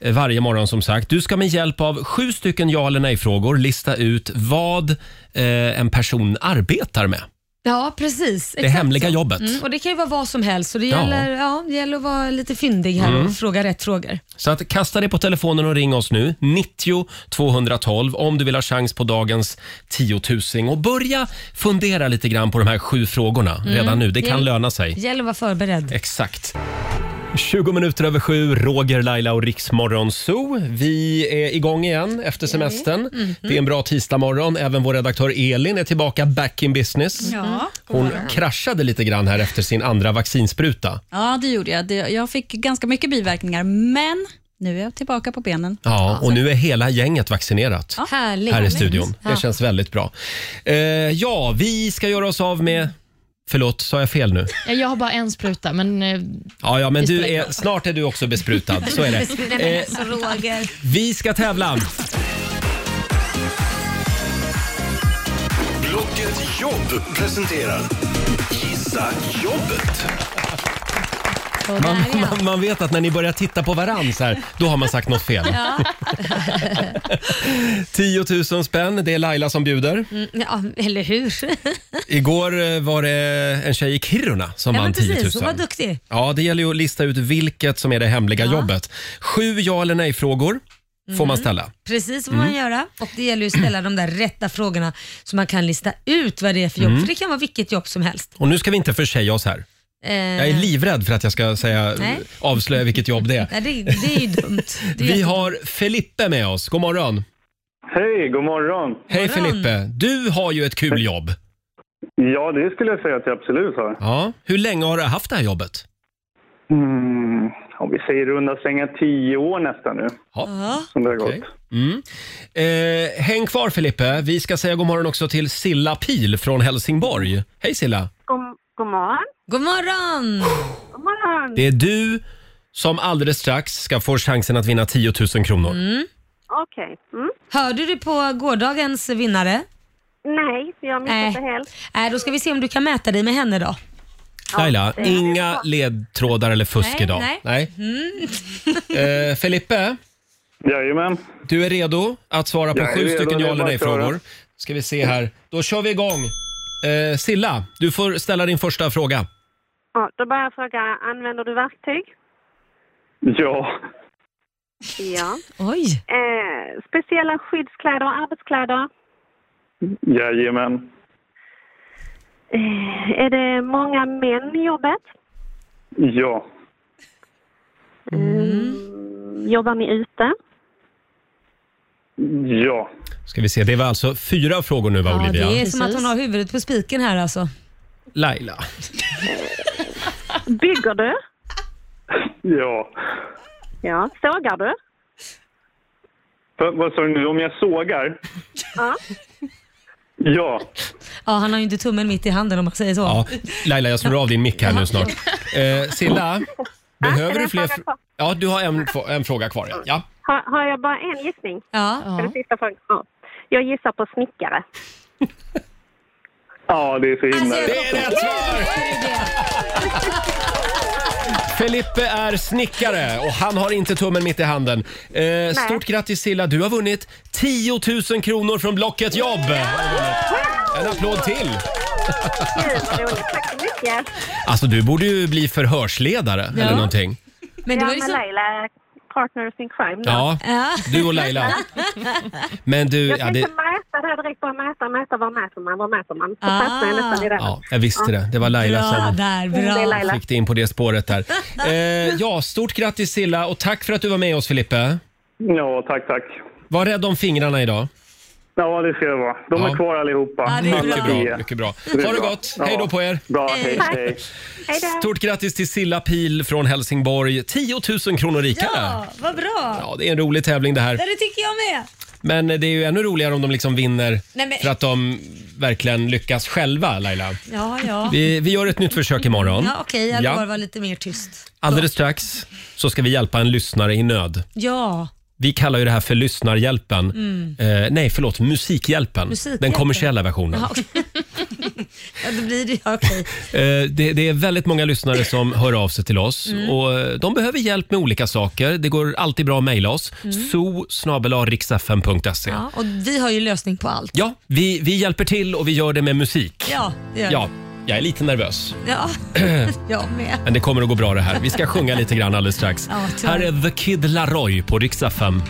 S1: eh, Varje morgon som sagt. Du ska med hjälp av sju stycken ja eller nej-frågor lista ut vad eh, en person arbetar med.
S2: Ja, precis.
S1: Det hemliga jobbet.
S2: Mm, och det kan ju vara vad som helst så det
S1: Ja. Mm.
S2: gäller, ja. det gäller att vara lite fyndig här och fråga rätt frågor.
S1: Så att kasta dig på telefonen och ring oss nu. 90 212 om du vill ha chans på dagens 10 000. Och börja fundera lite grann på de här sju frågorna
S8: Mm.
S1: redan nu. Det kan
S2: Hjälp.
S1: löna sig.
S2: Det gäller att vara
S1: Eh,
S2: förberedd.
S1: Exakt. 20 minuter över sju, Roger, Laila och Riksmorgon Zoo. Vi är igång igen efter semestern.
S8: Mhm.
S1: Det är en bra tisdagmorgon. Även vår redaktör Elin är tillbaka back in business.
S8: Ja.
S1: Hon kraschade lite grann här efter sin andra vaccinspruta.
S8: ja, det gjorde jag. Det, jag fick ganska mycket biverkningar, men nu är jag tillbaka på benen.
S1: Ja, och nu är hela gänget vaccinerat.
S2: Härligt.
S1: här i studion.
S2: Ja.
S1: Det känns väldigt bra. Eh, ja, vi ska göra oss av med... Förlåt, sa jag fel nu?
S3: Eh, Jag har bara en spruta, men eh,
S1: Ja, ja men
S3: Det
S1: du
S3: spelar ingen
S1: är,
S3: roll.
S1: snart är du också besprutad. Så är det. Eh,
S2: Nej, men alltså, Roger.
S1: Vi ska tävla.
S4: Blocket Jobb presenterar Gissa Jobbet.
S2: Så där, ja.
S1: Man, man vet att när ni börjar titta på varandra så här, då har man sagt något fel. 10 000 spänn, det är Laila som bjuder.
S2: Mm, ja, eller hur?
S1: Igår eh, var det en tjej i Kiruna som
S2: Ja,
S1: vann
S2: men
S1: 10 000.
S2: precis. Hon var duktig.
S1: Ja, det gäller ju att lista ut vilket som är det hemliga jobbet. Sju ja eller nej-frågor får
S2: Mm.
S1: man ställa.
S2: Precis vad
S1: Mm.
S2: man göra. Och det gäller ju att ställa de där rätta frågorna så man kan lista ut vad det är för jobb.
S1: Mm.
S2: För det kan vara vilket jobb som helst.
S1: Och nu ska vi inte försäga oss här.
S2: Eh,
S1: Jag är livrädd för att jag ska säga,
S2: Nej.
S1: avslöja vilket jobb det är.
S2: nej, det, det är ju dumt. Det är
S1: Vi
S2: jätte-
S1: har Felipe med oss. God morgon.
S9: Hej, god morgon.
S1: Hej
S2: morgon.
S1: Felipe. Du har ju ett kul jobb.
S9: Ja, det skulle jag säga att jag absolut har.
S1: Ja. Hur länge har du haft det här jobbet?
S9: Mm, om vi säger runda slängar tio år nästan nu,
S2: Ja.
S9: som det har
S1: Okej.
S9: gått.
S1: Mm. Eh, häng kvar Felipe. Vi ska säga god morgon också till Silla Pil från Helsingborg. Hej Silla.
S5: God, god morgon.
S2: God morgon!
S5: God morgon.
S1: Det är du som alldeles strax ska få chansen att vinna 10 000 kronor.
S5: Okej. Mm.
S2: Hörde du på gårdagens vinnare?
S5: Nej, jag missade
S2: Nej.
S5: det helt.
S2: Nej, då ska vi se om du kan mäta dig med henne då.
S1: Laila, inga ledtrådar eller fusk
S2: Nej,
S1: idag.
S2: nej.
S1: eh, Felipe,
S9: Jajamän.
S1: du är redo att svara på
S9: Jag är
S1: sju
S9: redo,
S1: stycken
S9: det är
S1: ja eller
S9: bara att
S1: nej-frågor.
S9: köra.
S1: Ska vi se här. Då kör vi igång. Eh, Silla, du får ställa din första fråga.
S5: Ja, då börjar jag fråga, använder du verktyg?
S9: Ja.
S5: Ja.
S2: Oj!
S5: Eh, speciella skyddskläder och arbetskläder?
S9: Jajamän.
S5: Eh, är det många män i jobbet?
S9: Ja.
S5: Mm. Jobbar ni ute?
S9: Ja.
S1: Ska vi se, det var alltså fyra frågor nu va
S3: Ja,
S1: Olivia?
S2: Det är
S3: Precis.
S2: som att hon har huvudet på spiken här alltså.
S1: Laila.
S5: Bygger du?
S9: Ja.
S5: Ja. Sågar du?
S9: Va, vad sa du nu? Om jag sågar?
S5: Ja.
S9: Ja.
S2: Ja, han har ju inte tummen mitt i handen om man säger så.
S1: Ja, Laila, jag slår av din mick här nu snart. Eh, Silla, behöver
S5: är det
S1: du
S5: en
S1: fler...
S5: fråga
S1: fr-
S5: kvar?
S1: Ja, du har en, f- en fråga kvar. Ja. ja.
S5: Har, har jag bara en gissning?
S2: Ja.
S5: För
S3: Ja.
S5: den sista frågan? Ja. Jag gissar på snickare.
S9: Ja, det är så
S2: Alltså,
S9: himla
S5: Alltså-
S1: Det är rätt svar! Felipe är snickare och han har inte tummen mitt i handen. Eh, stort grattis Silla, du har vunnit 10 000 kronor från Blocket Jobb! En applåd till!
S5: Gud vad roligt. Tack så mycket.
S1: Alltså du borde ju bli förhörsledare eller någonting.
S2: Men det
S5: Jag
S2: var ju
S5: med
S2: så...
S5: Laila, partners in crime. då.
S1: Ja,
S2: Ja.
S1: du och Laila. Men du,
S5: Jag
S1: ja,
S5: tänkte
S1: det,
S5: mäta det här direkt. Bara mäta, mäta. Vad mäter man? Vad mäter man? Så
S2: Ah.
S5: fastnade jag nästan i det.
S1: ja, jag visste det. Det var Laila
S2: Bra
S1: som
S2: där,
S5: Det är
S2: bra.
S5: Laila.
S1: fick dig in på det spåret där. Eh, ja, stort grattis Silla och tack för att du var med oss Filippe.
S9: Ja, tack, tack.
S1: Var rädd om fingrarna idag.
S9: Ja, det ska jag vara. De
S1: Ja.
S9: är kvar allihopa.
S2: Ja, det är
S1: Mycket
S2: bra.
S1: bra, mycket bra.
S9: är
S1: Ha det
S9: bra.
S1: gott,
S9: Ja.
S1: hej då på er.
S9: Bra, hej, hej.
S5: Hej då.
S1: Stort grattis till Silla Pil från Helsingborg. 10 000 kronor rikare. Ja.
S2: Ja, vad bra.
S1: det är en rolig tävling det här.
S2: Ja, det tycker jag med.
S1: Men det är ju ännu roligare om de liksom vinner
S2: Nej, men-
S1: för att de verkligen lyckas själva, Laila.
S2: Ja, ja.
S1: Vi, vi gör ett nytt försök imorgon.
S2: Ja, okej, jag
S1: Ja.
S2: lovar att vara lite mer tyst.
S1: Alldeles strax så ska vi hjälpa en lyssnare i nöd.
S2: Ja,
S1: Vi kallar ju det här för lyssnarhjälpen. Eh, nej, förlåt, musikhjälpen.
S2: Mm. Musikhjälpen.
S1: Den kommersiella versionen.
S2: ja okej. ja, då blir det ja, okej.
S1: Eh, det, det är väldigt många lyssnare som hör av sig till oss
S2: Mm.
S1: och eh, de behöver hjälp med olika saker. Det går alltid bra att mejla oss. Mm.
S2: Ja, och vi har ju lösning på allt.
S1: Ja, vi, vi hjälper till och vi gör det med musik.
S2: Ja, det gör
S1: Ja, jag är lite nervös,
S2: vi. Ja, jag med.
S1: men det kommer att gå bra det här. Vi ska sjunga lite grann alldeles strax.
S2: Ja, tror
S1: här
S2: jag.
S1: är The Kid Laroi på Rix FM.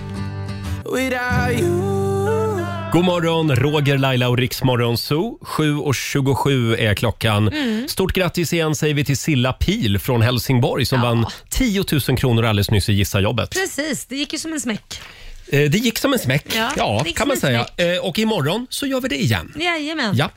S1: God morgon, Roger, Laila och Riksmorgon Zoo. 7.27 är klockan.
S2: Mm.
S1: Stort grattis igen säger vi till Silla Pil från Helsingborg som vann 10 000 kronor alldeles nyss i Gissa jobbet.
S2: Precis, det gick ju som en smäck.
S1: Eh, Det gick som en smäck, ja,
S2: Ja, det gick
S1: kan
S2: som
S1: man
S2: en
S1: säga. Eh, Och imorgon så gör vi det igen.
S2: Jajamän. Ja,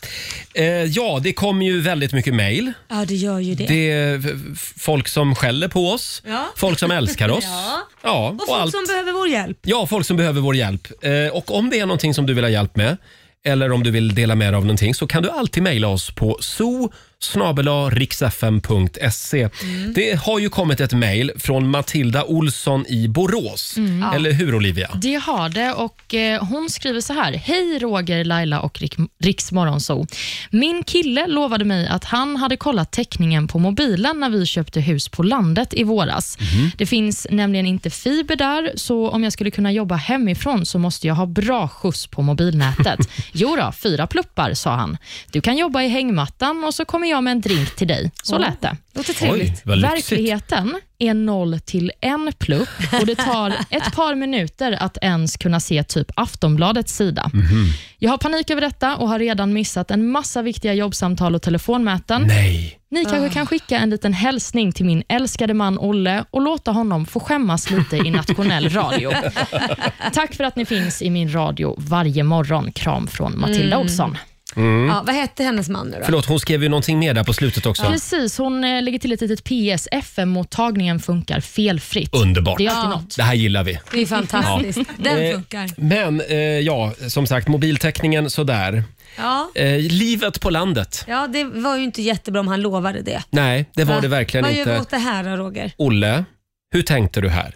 S1: Ja, Eh, ja det kom ju väldigt mycket mejl.
S2: ja det gör ju det.
S1: Det är f- f- folk som skäller på oss,
S2: Ja.
S1: folk som älskar oss.
S2: Ja.
S1: Ja,
S2: och folk
S1: allt.
S2: som behöver vår hjälp.
S1: Ja, folk som behöver vår hjälp. Eh, och om det är någonting som du vill ha hjälp med eller om du vill dela med dig av någonting så kan du alltid mejla oss på so riksfm.se.
S2: Mm.
S1: Det har ju kommit ett mejl från Matilda Olsson i Borås.
S2: Mm.
S1: Eller hur Olivia?
S3: Det har det och eh, hon skriver så här. Hej Roger, Laila och Rick, Riks Morgonzoo. Min kille lovade mig att han hade kollat täckningen på mobilen när vi köpte hus på landet i våras. Det finns nämligen inte fiber där, så om jag skulle kunna jobba hemifrån så måste jag ha bra skjuts på mobilnätet. jo då, fyra pluppar, sa han. Du kan jobba i hängmattan och så kommer kommer jag med en drink till dig. Så lät det.
S2: Låter
S1: Oj,
S2: trevligt.
S1: vad lyxigt.
S3: Verkligheten är 0 till 1 plupp och det tar ett par minuter att ens kunna se typ Aftonbladets sida.
S1: Mhm.
S3: Jag har panik över detta och har redan missat en massa viktiga jobbsamtal och telefonmöten.
S1: Nej.
S3: Ni kanske kan skicka en liten hälsning till min älskade man Olle och låta honom få skämmas lite i nationell radio. Tack för att ni finns i min radio varje morgon. Kram från Matilda Olsson.
S2: Ja, vad hette hennes man nu då?
S1: Mm. Förlåt, hon skrev ju någonting mer där på slutet också.
S3: Precis, hon eh, lägger till ett litet PS. FM-mottagningen funkar felfritt.
S1: Underbart.
S3: Det är alltid något.
S1: Det här gillar vi.
S2: Det är fantastiskt. Den funkar.
S1: Eh, men eh, ja, som sagt, mobiltäckningen sådär.
S2: Ja.
S1: Eh, livet på landet.
S2: ja, det var ju inte jättebra om han lovade det.
S1: Nej, det var
S2: Va?
S1: det verkligen
S2: Vad gör vi
S1: inte.
S2: åt det här då, Roger?
S1: Olle, hur tänkte du här?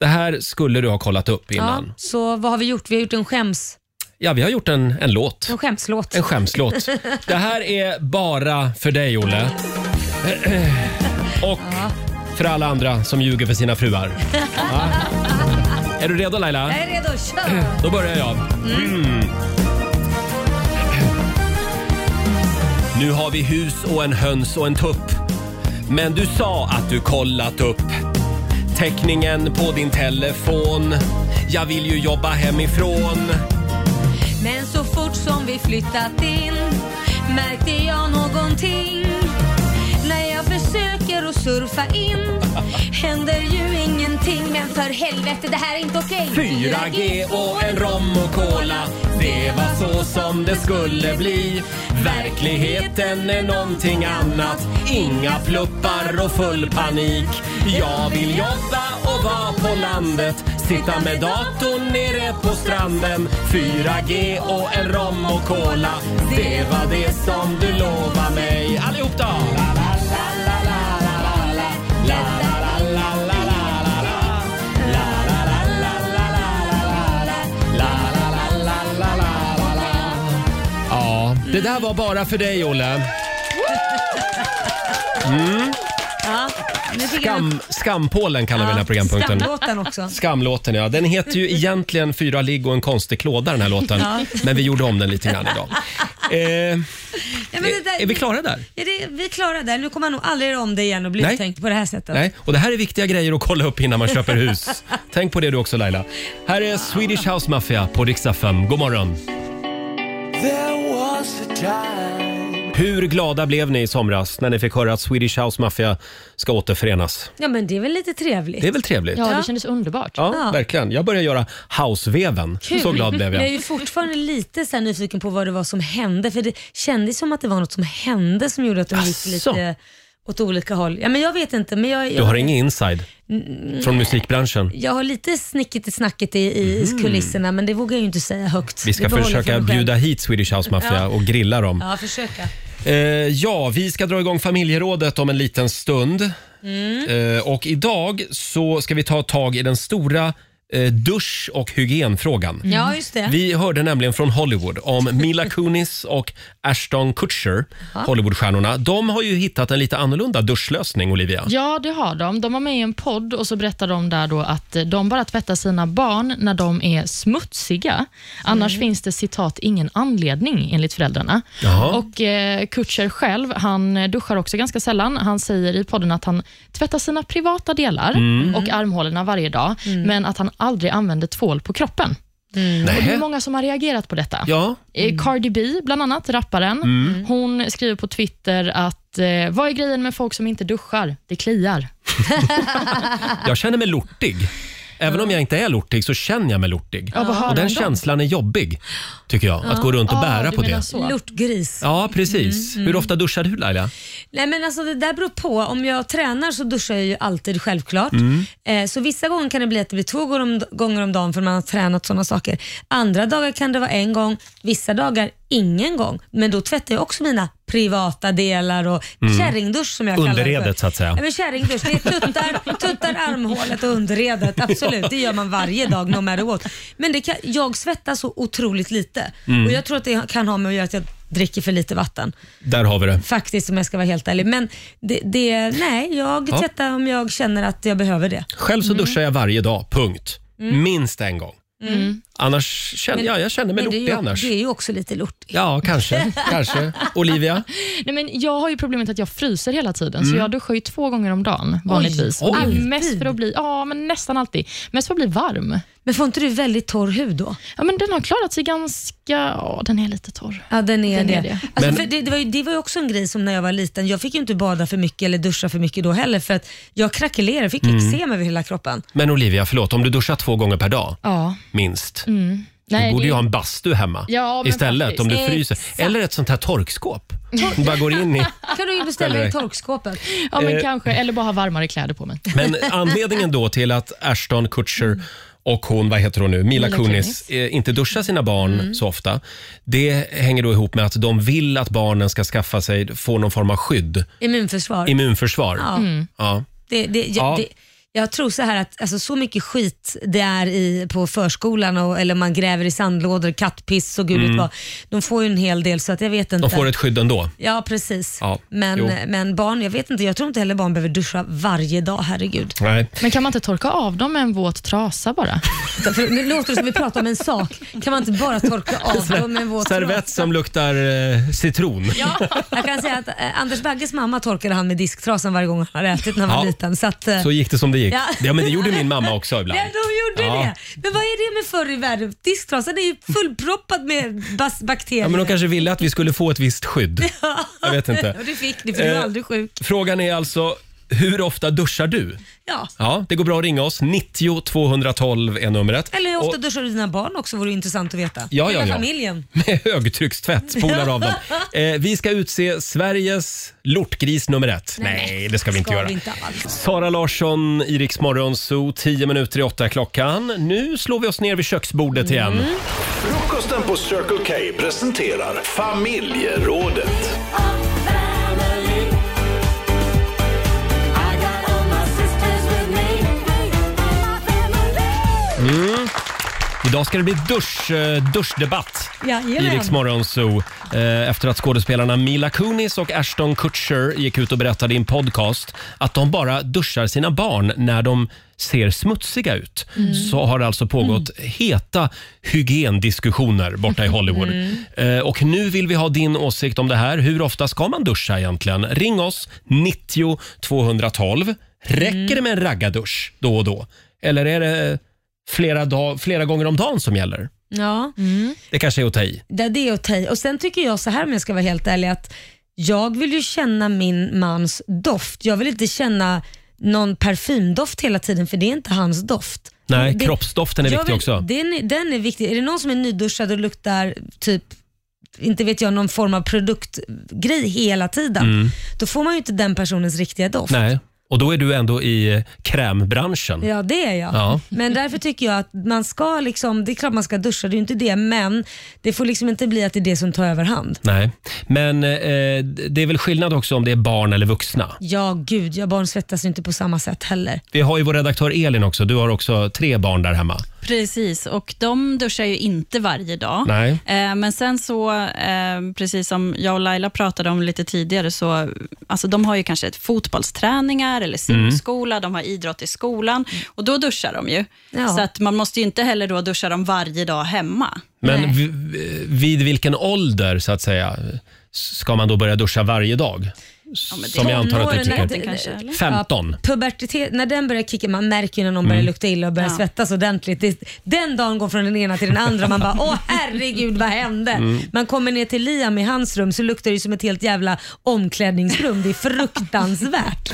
S1: Det här skulle du ha kollat upp innan.
S2: Mm. Ja, så vad har vi gjort? Vi har gjort en, skäms,
S1: Ja, vi har gjort en, en låt.
S2: en skämslåt.
S1: En skämslåt. Det här är bara för dig, Olle. Och för alla andra som ljuger för sina fruar. Ja. Är du redo Laila?
S2: Jag är redo, kör!
S1: Då börjar jag. Mm. Nu har vi hus och en höns och en tupp. Men du sa att du kollat upp teckningen på din telefon. Jag vill ju jobba hemifrån.
S2: Men så fort som vi flyttat in märkte jag någonting. När jag försöker att surfa in händer ju ingenting. Men för helvete, det här är inte okej.
S1: 4G och en rom och cola Det var så som det skulle bli Verkligheten är någonting annat Inga pluppar och full panik Jag vill jobba och vara på landet Sitta med datorn nere på stranden 4G och en rom och cola Det var det som du lovade mig Allihop då! Ja, det där var bara för dig Olle.
S2: Ja, nu fick jag-
S1: Skam, skampålen kallar vi den här programpunkten.
S2: Skamlåten också.
S1: Skamlåten ja, den heter ju egentligen Fyra ligg och en konstig klåda den här låten. Men vi gjorde om den lite grann idag. Eh,
S2: Ja, men det där-
S1: är vi klara där?
S2: Ja, det, vi klarar det. Nu kommer man nog aldrig göra om det igen och bli
S1: Nej.
S2: uttänkt på det här sättet.
S1: Nej, och det här är viktiga grejer att kolla upp innan man köper hus. Tänk på det du också Laila. Här är Swedish House Mafia på riksdag 5. God morgon. Hur glada blev ni i somras när ni fick höra att Swedish House Mafia ska återförenas?
S2: Ja, men det är väl lite trevligt.
S1: Det är väl trevligt?
S3: Ja, det kändes underbart.
S1: Ja,
S2: Ja.
S1: verkligen. Jag började göra houseveven. Så glad blev
S2: Men jag är
S1: jag.
S2: ju fortfarande lite så här nyfiken på vad det var som hände. För det kändes som att det var något som hände som gjorde att de gick
S1: Asså?
S2: lite åt olika håll. Ja, men jag vet inte, men jag,
S1: Du
S2: jag,
S1: har ingen inside
S2: Mm.
S1: från musikbranschen?
S2: jag har lite snicket i snacket i, i kulisserna, men det vågar jag ju inte säga högt.
S1: Mhm. Vi ska
S2: Det behåller jag
S1: försöka
S2: för mig själv.
S1: bjuda hit Swedish House Mafia
S2: Ja.
S1: och grilla dem.
S2: Ja, försöka.
S1: Eh, ja, vi ska dra igång familjerådet om en liten stund.
S2: Mm.
S1: Eh, och idag så ska vi ta tag i den stora eh, dusch och hygienfrågan.
S2: Ja, just det.
S1: Vi hörde nämligen från Hollywood om Mila Kunis och Ashton Kutcher, Hollywoodstjärnorna. De har ju hittat en lite annorlunda duschlösning, Olivia.
S3: Ja, det har de. De var med i en podd och så berättade de där då att eh, de bara tvättar sina barn när de är smutsiga. Annars finns det citat ”ingen anledning” enligt föräldrarna.
S1: Jaha.
S3: Och eh, Kutcher själv, han eh, duschar också ganska sällan. Han säger i podden att han tvättar sina privata delar och armhålorna varje dag, men att han aldrig använder tvål på kroppen. Och det är
S1: Nej.
S3: många som har reagerat på detta.
S1: Ja,
S3: Eh, Cardi B, bland annat, rapparen,
S1: Mm.
S3: hon skriver på Twitter att eh, vad är grejen med folk som inte duschar? Det kliar.
S1: jag känner mig lortig. Även om jag inte är lortig så känner jag mig lortig.
S3: Ja, vad har
S1: Och den
S3: de då?
S1: känslan är jobbig, tycker jag. Att gå runt och
S3: Ah,
S1: bära
S3: du
S1: på
S3: menar
S1: det.
S3: så. Mm,
S2: Lortgris.
S1: Ja, precis. Hur ofta duschar du Laila?
S2: Nej men alltså det där beror på. Om jag tränar så duschar jag ju alltid självklart.
S1: Mm.
S2: Eh, så vissa gånger kan det bli att det blir två gånger om, gånger om dagen för man har tränat sådana saker. Andra dagar kan det vara en gång, vissa dagar ingen gång. Men då tvättar jag också mina privata delar och kärringdusch som jag kallar det
S1: Mm. Underredet,
S2: för.
S1: så att säga.
S2: Nej, men kärringdusch, det är tuttar, tuttar, armhålet och underredet. Absolut, det gör man varje dag, no matter what. Men det kan, jag svettas så otroligt lite
S1: Mm.
S2: och jag tror att det kan ha med att göra att jag dricker för lite vatten
S1: Där har vi det.
S2: faktiskt om jag ska vara helt ärlig. Men det, det, nej, jag
S1: Ja.
S2: tvättar om
S3: Mm.
S2: jag känner att jag behöver det.
S3: Mm.
S1: Själv så duschar jag varje dag, punkt. Minst en gång. Annars känner, ja, jag känner mig
S2: Men det är
S1: lortig
S2: ju,
S1: annars.
S2: Det är ju också lite lortigt.
S1: Ja, kanske. kanske. Olivia?
S3: Nej, men jag har ju problemet att jag fryser hela tiden,
S1: Mm.
S3: så jag duschar ju två gånger om dagen vanligtvis.
S1: oj.
S3: Och det är
S2: Alltid?
S3: mest för att bli, ja, men nästan alltid. Mest för att bli varm.
S2: Men får inte du väldigt torr hud då?
S3: Ja, men den har klarat sig ganska... Ja, den är lite torr.
S2: Ja, den är
S3: Den
S2: det.
S3: är det.
S2: Alltså,
S1: Men-
S2: för det, det, var ju, det var ju också en grej som när jag var liten. Jag fick ju inte bada för mycket eller duscha för mycket då heller för att jag krackelerade, fick
S1: Mm.
S2: eksem över hela kroppen.
S1: Men Olivia, förlåt, om du duschar två gånger per dag,
S3: Ja.
S1: minst,
S3: Mm. Nej,
S1: du borde
S3: det-
S1: ju ha en bastu hemma
S3: Ja, men
S1: istället
S3: faktiskt.
S1: om du fryser. Eller ett sånt här torkskåp. Du bara går in i...
S2: kan du ju beställa i
S1: Eller-
S2: torkskåpet.
S3: Ja, men
S1: Eh.
S3: kanske. Eller bara ha varmare kläder på mig.
S1: Men anledningen då till att Ashton Kutcher och hon, vad heter hon nu, Mila,
S3: Mila
S1: Kunis, eh, inte duschar sina barn
S2: Mm.
S1: så ofta. Det hänger då ihop med att de vill att barnen ska skaffa sig, få någon form av skydd,
S2: Immunförsvar.
S1: immunförsvar.
S2: Ja.
S1: Ja.
S2: Det, det, jag,
S1: Ja.
S2: det, jag tror så här att alltså, så mycket skit det är i, på förskolan och, eller man gräver i sandlådor, kattpiss och gud vet vad. De får ju en hel del så att jag vet inte.
S1: Mm. De får ett skydd ändå.
S2: Ja precis.
S1: Ja,
S2: Men,
S1: jo.
S2: men barn, jag vet inte, jag tror inte heller barn behöver duscha varje dag, herregud.
S1: Nej.
S3: Men kan man inte torka av dem med en våt trasa bara?
S2: För nu låter det som vi pratar om en sak. Kan man inte bara torka av dem med en våt
S1: Servett
S2: trasa?
S1: som luktar eh, citron.
S2: Jag kan säga att eh, Anders Bagges mamma torkade han med disktrasan varje gång han hade ätit när han
S1: Ja.
S2: var liten. Så att, eh,
S1: Så gick det som det gick.
S2: Ja.
S1: Ja, men det gjorde min mamma också ibland.
S2: Ja, de gjorde
S1: Ja.
S2: det. Men vad är det med förr i världen? Disktrasan är ju fullproppad med bas- bakterier.
S1: Ja, men de kanske ville att vi skulle få ett visst skydd. Jag vet
S2: Och
S1: inte.
S2: det fick ni, för du var
S1: Eh.
S2: aldrig sjuk.
S1: Frågan är alltså, hur ofta duschar du?
S2: Ja.
S1: Ja, det går bra att ringa oss. 90 212 är numret.
S2: Eller hur ofta
S1: Och
S2: duschar du dina barn också? vore intressant att veta.
S1: Ja,
S2: Hela
S1: ja, ja.
S2: familjen.
S1: med högtryckstvätt spolar av dem. Eh, vi ska utse Sveriges lortgris nummer ett. Nej, det ska vi inte
S2: Ska
S1: göra.
S2: vi inte alls.
S1: Sara Larsson, Iriks morgonzoo, 10 minuter i åtta klockan. Nu slår vi oss ner vid köksbordet
S2: Mm.
S1: igen.
S4: Frukosten på Circle K presenterar Familjerådet.
S1: Idag ska det bli dusch, eh, duschdebatt i
S2: Jajamän.
S1: Rix Morgonzoo. Eh, efter att skådespelarna Mila Kunis och Ashton Kutcher gick ut och berättade i en podcast att de bara duschar sina barn när de ser smutsiga ut. Så har det alltså pågått heta hygiendiskussioner borta i Hollywood. Eh, och nu vill vi ha din åsikt om det här. Hur ofta ska man duscha egentligen? Ring oss, 90 212. Räcker det med en raggardusch då och då? Eller är det eh, flera, dag, flera gånger om dagen som gäller?
S2: Ja.
S1: Det kanske är att ta i.
S2: Det, det är att ta i. Och sen tycker jag så här om jag ska vara helt ärlig att jag vill ju känna min mans doft. Jag vill inte känna någon parfymdoft hela tiden för det är inte hans doft.
S1: Nej,
S2: det,
S1: kroppsdoften är
S2: jag
S1: viktig
S2: vill-
S1: också.
S2: Den, är- den är viktig. Är det någon som är nyduschad och luktar typ inte vet jag, någon form av produktgrej hela tiden. Då får man ju inte den personens riktiga doft.
S1: Mm. Nej. Och då är du ändå i eh, krämbranschen.
S2: Ja, det är jag.
S1: Ja.
S2: Men därför tycker jag att man ska, liksom, det är klart man ska duscha, det är ju inte det, men det får liksom inte bli att det är det som tar överhand.
S1: Nej. Men eh, det är väl skillnad också om det är barn eller vuxna.
S2: Ja, gud. Ja, barn svettas ju inte på samma sätt heller.
S1: Vi har ju vår redaktör Elin också. Du har också tre barn där hemma.
S8: Precis, och de duschar ju inte varje dag.
S1: Nej.
S8: Eh, Men sen så, eh, precis som jag och Laila pratade om lite tidigare, så alltså de har ju kanske ett fotbollsträningar eller
S1: Mm.
S8: simskola, de har idrott i skolan och då duschar de ju.
S2: Ja.
S8: Så att man måste ju inte heller då duscha dem varje dag hemma.
S1: Men
S2: Nej.
S1: v- v- vid vilken ålder så att säga ska man då börja duscha varje dag?
S8: men det-
S1: Som jag antar att du
S2: Tonåren,
S1: tycker.
S2: nej, det-
S8: Kanske, eller?
S1: 15.
S2: Ja, pubertet, när den börjar kicka, man märker ju när någon börjar lukta illa och börjar
S8: Ja.
S2: svettas ordentligt. Det, den dagen går från den ena till den andra man bara, åh herregud vad hände? Man kommer ner till Liam i hans rum så luktar det ju som ett helt jävla omklädningsrum. Det är fruktansvärt.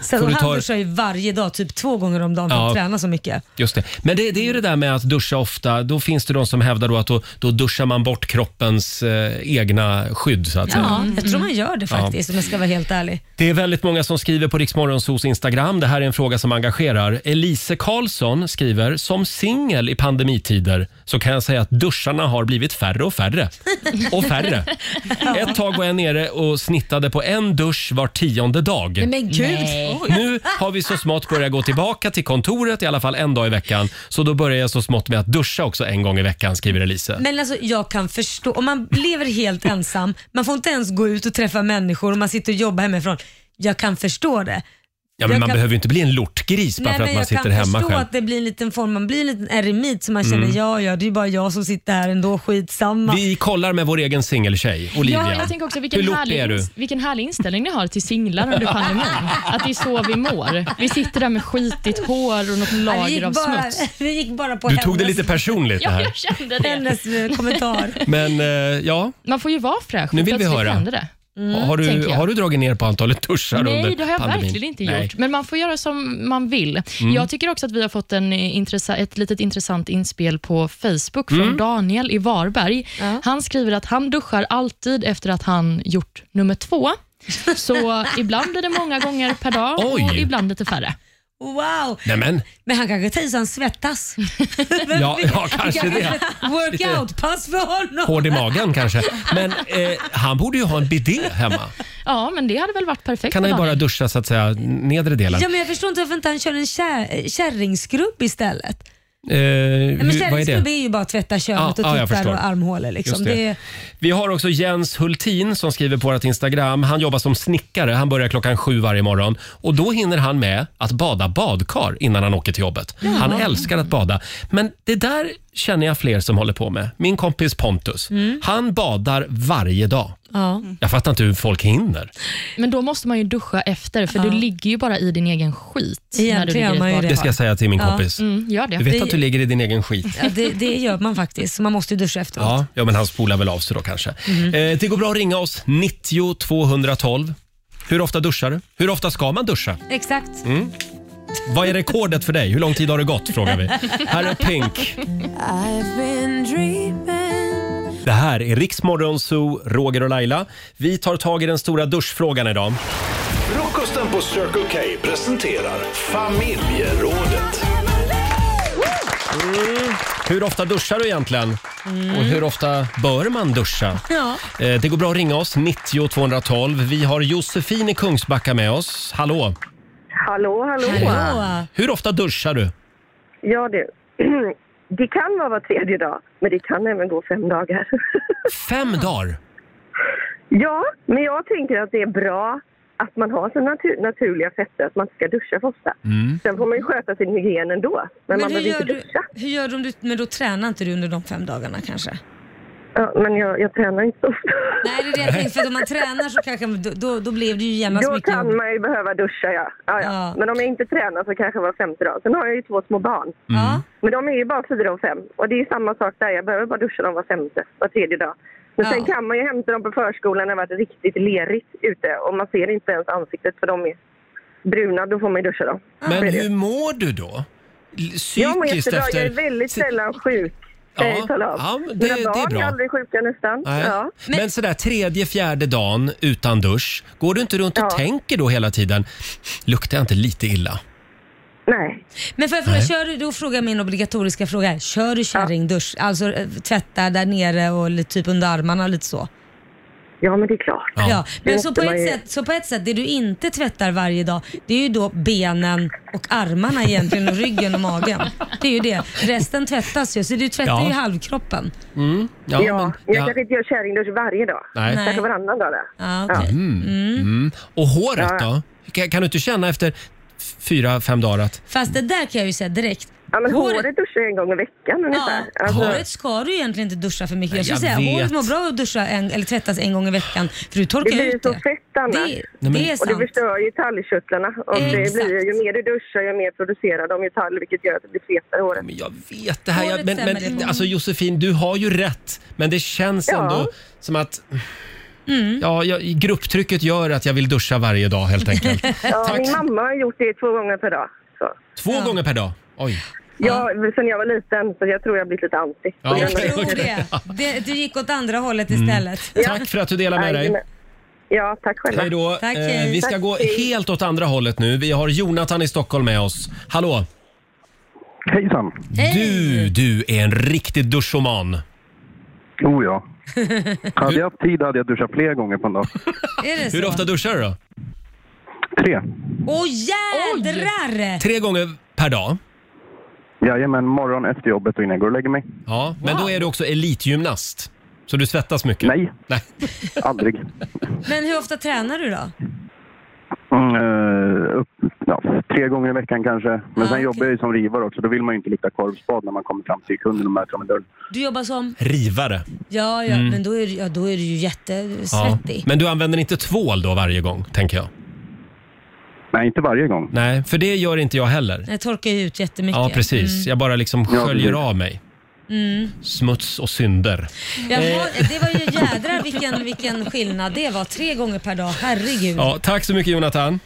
S2: Så,
S1: Får
S2: och
S1: du
S2: han
S1: ta-
S2: duschar ju varje dag, typ två gånger om dagen för att
S1: Ja.
S2: träna så mycket.
S1: Just det. Men det, det är ju det där med att duscha ofta. Då finns det de som hävdar då att då, då duschar man bort kroppens eh, egna skydd. Så att säga.
S2: Ja, jag tror man gör det faktiskt om jag ska vara helt ärlig.
S1: Det är väldigt många som skriver på Riksmorgonsos Instagram. Det här är en fråga som engagerar. Elise Karlsson skriver, som singel i pandemitider så kan jag säga att duscharna har blivit färre och färre. Och färre. Ett tag var jag nere och snittade på en dusch var tionde dag.
S2: Men gud,
S1: Nu har vi så smått börjat gå tillbaka till kontoret i alla fall en dag i veckan. Så då börjar jag så smått med att duscha också en gång i veckan, skriver Elise.
S2: Men alltså jag kan förstå, om man lever helt ensam, man får inte ens gå ut och träffa människor och man sitter och jobbar hemifrån. Jag kan förstå det.
S1: Ja, men
S2: Jag
S1: man
S2: kan-
S1: behöver ju inte bli en lortgris bara
S2: Nej,
S1: för
S2: men
S1: att man
S2: jag
S1: sitter
S2: kan
S1: hemma
S2: förstå
S1: själv. Mm.
S2: att det blir en liten form, man blir en liten eremit som man känner, ja ja, det är ju bara jag som sitter här ändå, skitsamma.
S1: Vi kollar med vår egen singeltjej, Olivia.
S3: Ja, jag tänker också
S1: Hur
S3: vilken
S1: lortig
S3: härlig,
S1: är du?
S3: vilken härlig inställning ni har till singlar under pandemin. Att det är så vi mår. Vi sitter där med skitigt hår och något
S2: Ja, vi,
S3: lager av
S2: gick bara,
S3: smuts.
S2: vi gick bara på
S1: Du tog det
S2: hennes,
S1: lite personligt det
S3: Ja,
S1: här.
S3: jag kände det.
S2: hennes eh, kommentar.
S1: Men eh, ja,
S3: Man får ju vara fräsch.
S1: Nu vill vi
S3: Plötsligt
S1: höra. Mm.
S3: hände det.
S1: har,
S3: Mm, tänker
S1: du,
S3: jag.
S1: har du dragit ner på antalet duschar under
S3: Nej, det har jag
S1: pandemin?
S3: verkligen inte
S1: Nej. Mm.
S3: gjort. Men man får göra som man vill. Jag tycker också att vi har fått en eh, intressa- ett litet intressant inspel på Facebook från
S1: Mm.
S3: Daniel i Varberg. Han skriver att han duschar alltid efter att han gjort nummer två. Så ibland blir det många gånger per dag och
S1: Oj.
S3: ibland lite färre.
S2: Wow!
S1: Nej men,
S2: Men han kanske tar i så han svettas.
S1: ja, ja kanske det.
S2: Workout-pass för honom.
S1: Hård i magen kanske. Men eh, han borde ju ha en bidé hemma.
S3: Ja, men det hade väl varit perfekt
S1: Kan
S3: för
S1: han ju bara
S3: Daniel.
S1: duscha så att säga nedre delen.
S2: Ja, men jag förstår inte varför inte han kör en kär, kärringskrubb istället.
S1: Eh,
S2: Nej, men
S1: hur, vad är
S2: kärringskrubb
S1: det?
S2: är, ju bara att tvätta
S1: Ja,
S2: könet
S1: ja, jag
S2: och tuttar
S1: förstår.
S2: och armhålor. Liksom.
S1: Just det.
S2: Det. är-
S1: Vi har också Jens Hultin som skriver på vårt Instagram. Han jobbar som snickare. Han börjar klockan sju varje morgon. Och Då hinner han med att bada badkar innan han åker till jobbet. Han älskar att bada. Men det där känner jag fler som håller på med. Min kompis Pontus, han badar varje dag.
S2: ja.
S1: Jag fattar inte hur folk hinner.
S3: Men då måste man ju duscha efter, för du ligger ju bara i din egen skit. när du
S2: Egentligen
S3: ligger i
S2: gör man ju
S3: ett
S2: det.
S1: Det ska jag säga till min kompis.
S3: bad. Mm, gör det.
S1: Du vet att du ligger i din egen skit.
S2: Ja, det, det gör man faktiskt, så man måste ju duscha efteråt.
S1: Ja, ja men han spolar väl av sig då kanske. Eh, det går bra att ringa oss, 90 212. Hur ofta duschar du? Hur ofta ska man duscha?
S2: Exakt.
S1: Mm. Vad är rekordet för dig? Hur lång tid har det gått? Frågar vi. Här är Pink. Det här är Riksmorgon Zoo, Roger och Laila. Vi tar tag i den stora duschfrågan idag.
S4: Frukosten på Circle K presenterar Familjerådet.
S1: Hur ofta duschar du egentligen? Och hur ofta bör man duscha?
S2: Ja.
S1: Eh, Det går bra att ringa oss, 90 212. Vi har Josefin i Kungsbacka med oss. Hallå!
S5: Hallå, hallå.
S2: Hallå.
S1: Hur ofta duschar du?
S5: Ja du, det kan vara var tredje dag, men det kan även gå fem dagar.
S1: Fem dagar?
S5: ja, men jag tänker att det är bra att man har sina natur- naturliga fetter, att man inte ska duscha för ofta.
S1: Mm.
S5: Sen får man ju sköta sin hygien ändå, men, man
S2: hur,
S5: behöver
S2: gör
S5: inte
S2: du,
S5: duscha.
S2: hur gör du om du, men då tränar inte du under de fem dagarna kanske?
S5: Ja, men jag, jag tränar inte så ofta.
S2: Nej, det är det jag tänkte, för att om man tränar så kanske, då, då blev det ju genast
S5: Då
S2: mycket
S5: kan man ju behöva duscha, ja. Ja, ja.
S2: Ja.
S5: Men om jag inte tränar så kanske var femte dag. Sen har jag ju två små barn.
S1: Mm.
S2: Ja.
S5: Men de är ju bara fyra och fem. Och det är ju samma sak där. Jag behöver bara duscha dem var femte, var tredje dag. Men sen
S2: Ja.
S5: kan man ju hämta dem på förskolan när det har varit riktigt lerigt ute. Och man ser inte ens ansiktet för de är bruna. Då får man ju duscha dem.
S1: Men
S5: Det är det.
S1: hur mår du då? L-
S5: Jag mår
S1: Psykiskt
S5: jättebra. Jag är
S1: efter...
S5: väldigt sällan sjuk.
S1: Ja,
S5: kan jag ju tala om.
S1: ja, men det-
S5: Mina
S1: det är
S5: barn
S1: bra.
S5: är aldrig sjuka nästan.
S1: Nej.
S5: Ja.
S1: Men, sådär tredje, fjärde dagen utan dusch, går du inte runt och
S5: Ja.
S1: tänker då hela tiden, luktar jag inte lite illa?
S5: Nej.
S2: Men får jag fråga,
S1: Nej.
S2: kör du, då frågar jag min obligatoriska fråga. här. Kör du kärringdusch? Alltså eh, tvätta där nere och lite typ under armarna och lite så?
S5: Ja, men det är klart.
S1: Ja.
S2: Ja. Men
S5: måste
S2: så på,
S5: man ju.
S2: ett sätt, så på ett sätt, det du inte tvättar varje dag, det är ju då benen och armarna egentligen och ryggen och magen. Det är ju det. Resten tvättas ju, så du tvättar
S1: Ja.
S2: ju halvkroppen.
S1: Ja,
S5: Ja,
S1: men-
S5: jag
S1: ja.
S5: kanske inte gör kärringdusch varje dag.
S1: Nej.
S2: Nej.
S5: Kanske varannan dag. Där.
S2: Ja, okej.
S1: Och håret
S5: Ja.
S1: då? Kan, kan du inte känna efter f- fyra, fem dagar att
S2: Fast det där kan jag ju säga direkt.
S5: Ja, men
S2: Håret-
S5: håret, duschar jag en gång i veckan ungefär.
S2: Ja,
S5: Alltså,
S2: håret ska du egentligen inte duscha för mycket.
S1: Nej,
S2: Jag skulle
S1: jag
S2: säga
S1: vet.
S2: håret mår bra att duscha en, eller tvättas en gång i veckan för du
S5: det
S2: torkar
S5: blir
S2: ut
S5: så
S2: det.
S5: fett annars.
S2: Det,
S1: men-
S2: det är
S5: och det
S2: sant.
S5: förstör ju talgkörtlarna. Och det
S2: Exakt.
S5: blir, ju mer du duschar, ju mer producerar de ju talg, vilket gör att det blir fetare i håret.
S1: men jag vet det här, jag,
S2: Håret
S1: men,
S2: stämmer
S1: men
S2: det på.
S1: alltså Josefin, du har ju rätt, men det känns
S5: Ja.
S1: ändå som att
S2: Mm.
S1: Ja, jag, grupptrycket gör att jag vill duscha varje dag helt enkelt.
S5: Ja,
S1: Tack.
S5: min mamma har gjort det två gånger per dag. Så.
S1: Två gånger per dag. Oj.
S5: Jag, sen jag var liten, så jag tror jag blivit lite anti.
S1: Ja,
S5: Jag
S1: okej, Mm.
S5: menar-
S2: Tror det. det. Du gick åt andra hållet istället.
S1: Tack för att du delar med
S5: Nej,
S1: dig.
S5: men- Ja, tack själva.
S1: Hej då.
S2: Tack,
S1: Eh,
S2: hej.
S1: Vi ska
S5: Tack,
S1: gå
S5: hej.
S1: helt åt andra hållet nu. Vi har Jonathan i Stockholm med oss. Hallå!
S9: Hejsan.
S2: Hej.
S1: Du, du är en riktig duschoman.
S9: Oh ja. Hade jag haft tid hade jag duschat fler gånger på en dag.
S2: Är det så?
S1: Hur ofta duschar du då?
S9: Tre.
S2: Åh jädrar!
S1: Tre gånger per dag.
S9: Jajamän, morgon efter jobbet och innan jag går och lägger mig.
S1: Ja, men då är du också elitgymnast. Så du svettas mycket?
S9: Nej,
S1: Nej.
S9: aldrig.
S2: Men hur ofta tränar du då?
S9: Mm, eh, upp, ja, tre gånger i veckan kanske. Men sen
S2: Ah, okej.
S9: jobbar jag ju som rivare också. Då vill man ju inte lukta korvspad när man kommer fram till kunden och möter dem i dörren.
S2: Du jobbar som?
S1: Rivare.
S2: Ja, ja, men då är, du- ja, då är du ju
S1: Mm. Ja.
S2: jättesvettig.
S1: Men du använder inte tvål då varje gång, tänker jag?
S9: Nej, inte varje gång.
S1: Nej, för det gör inte jag heller.
S2: Jag torkar ju ut jättemycket.
S1: Ja, precis.
S2: Mm.
S1: Jag bara liksom
S9: Ja,
S1: sköljer
S9: precis.
S1: av mig. Smuts och synder.
S2: Jaha,
S1: Eh.
S2: det var ju jädrar vilken, vilken skillnad det var. Tre gånger per dag, herregud.
S1: Ja, tack så mycket Jonathan.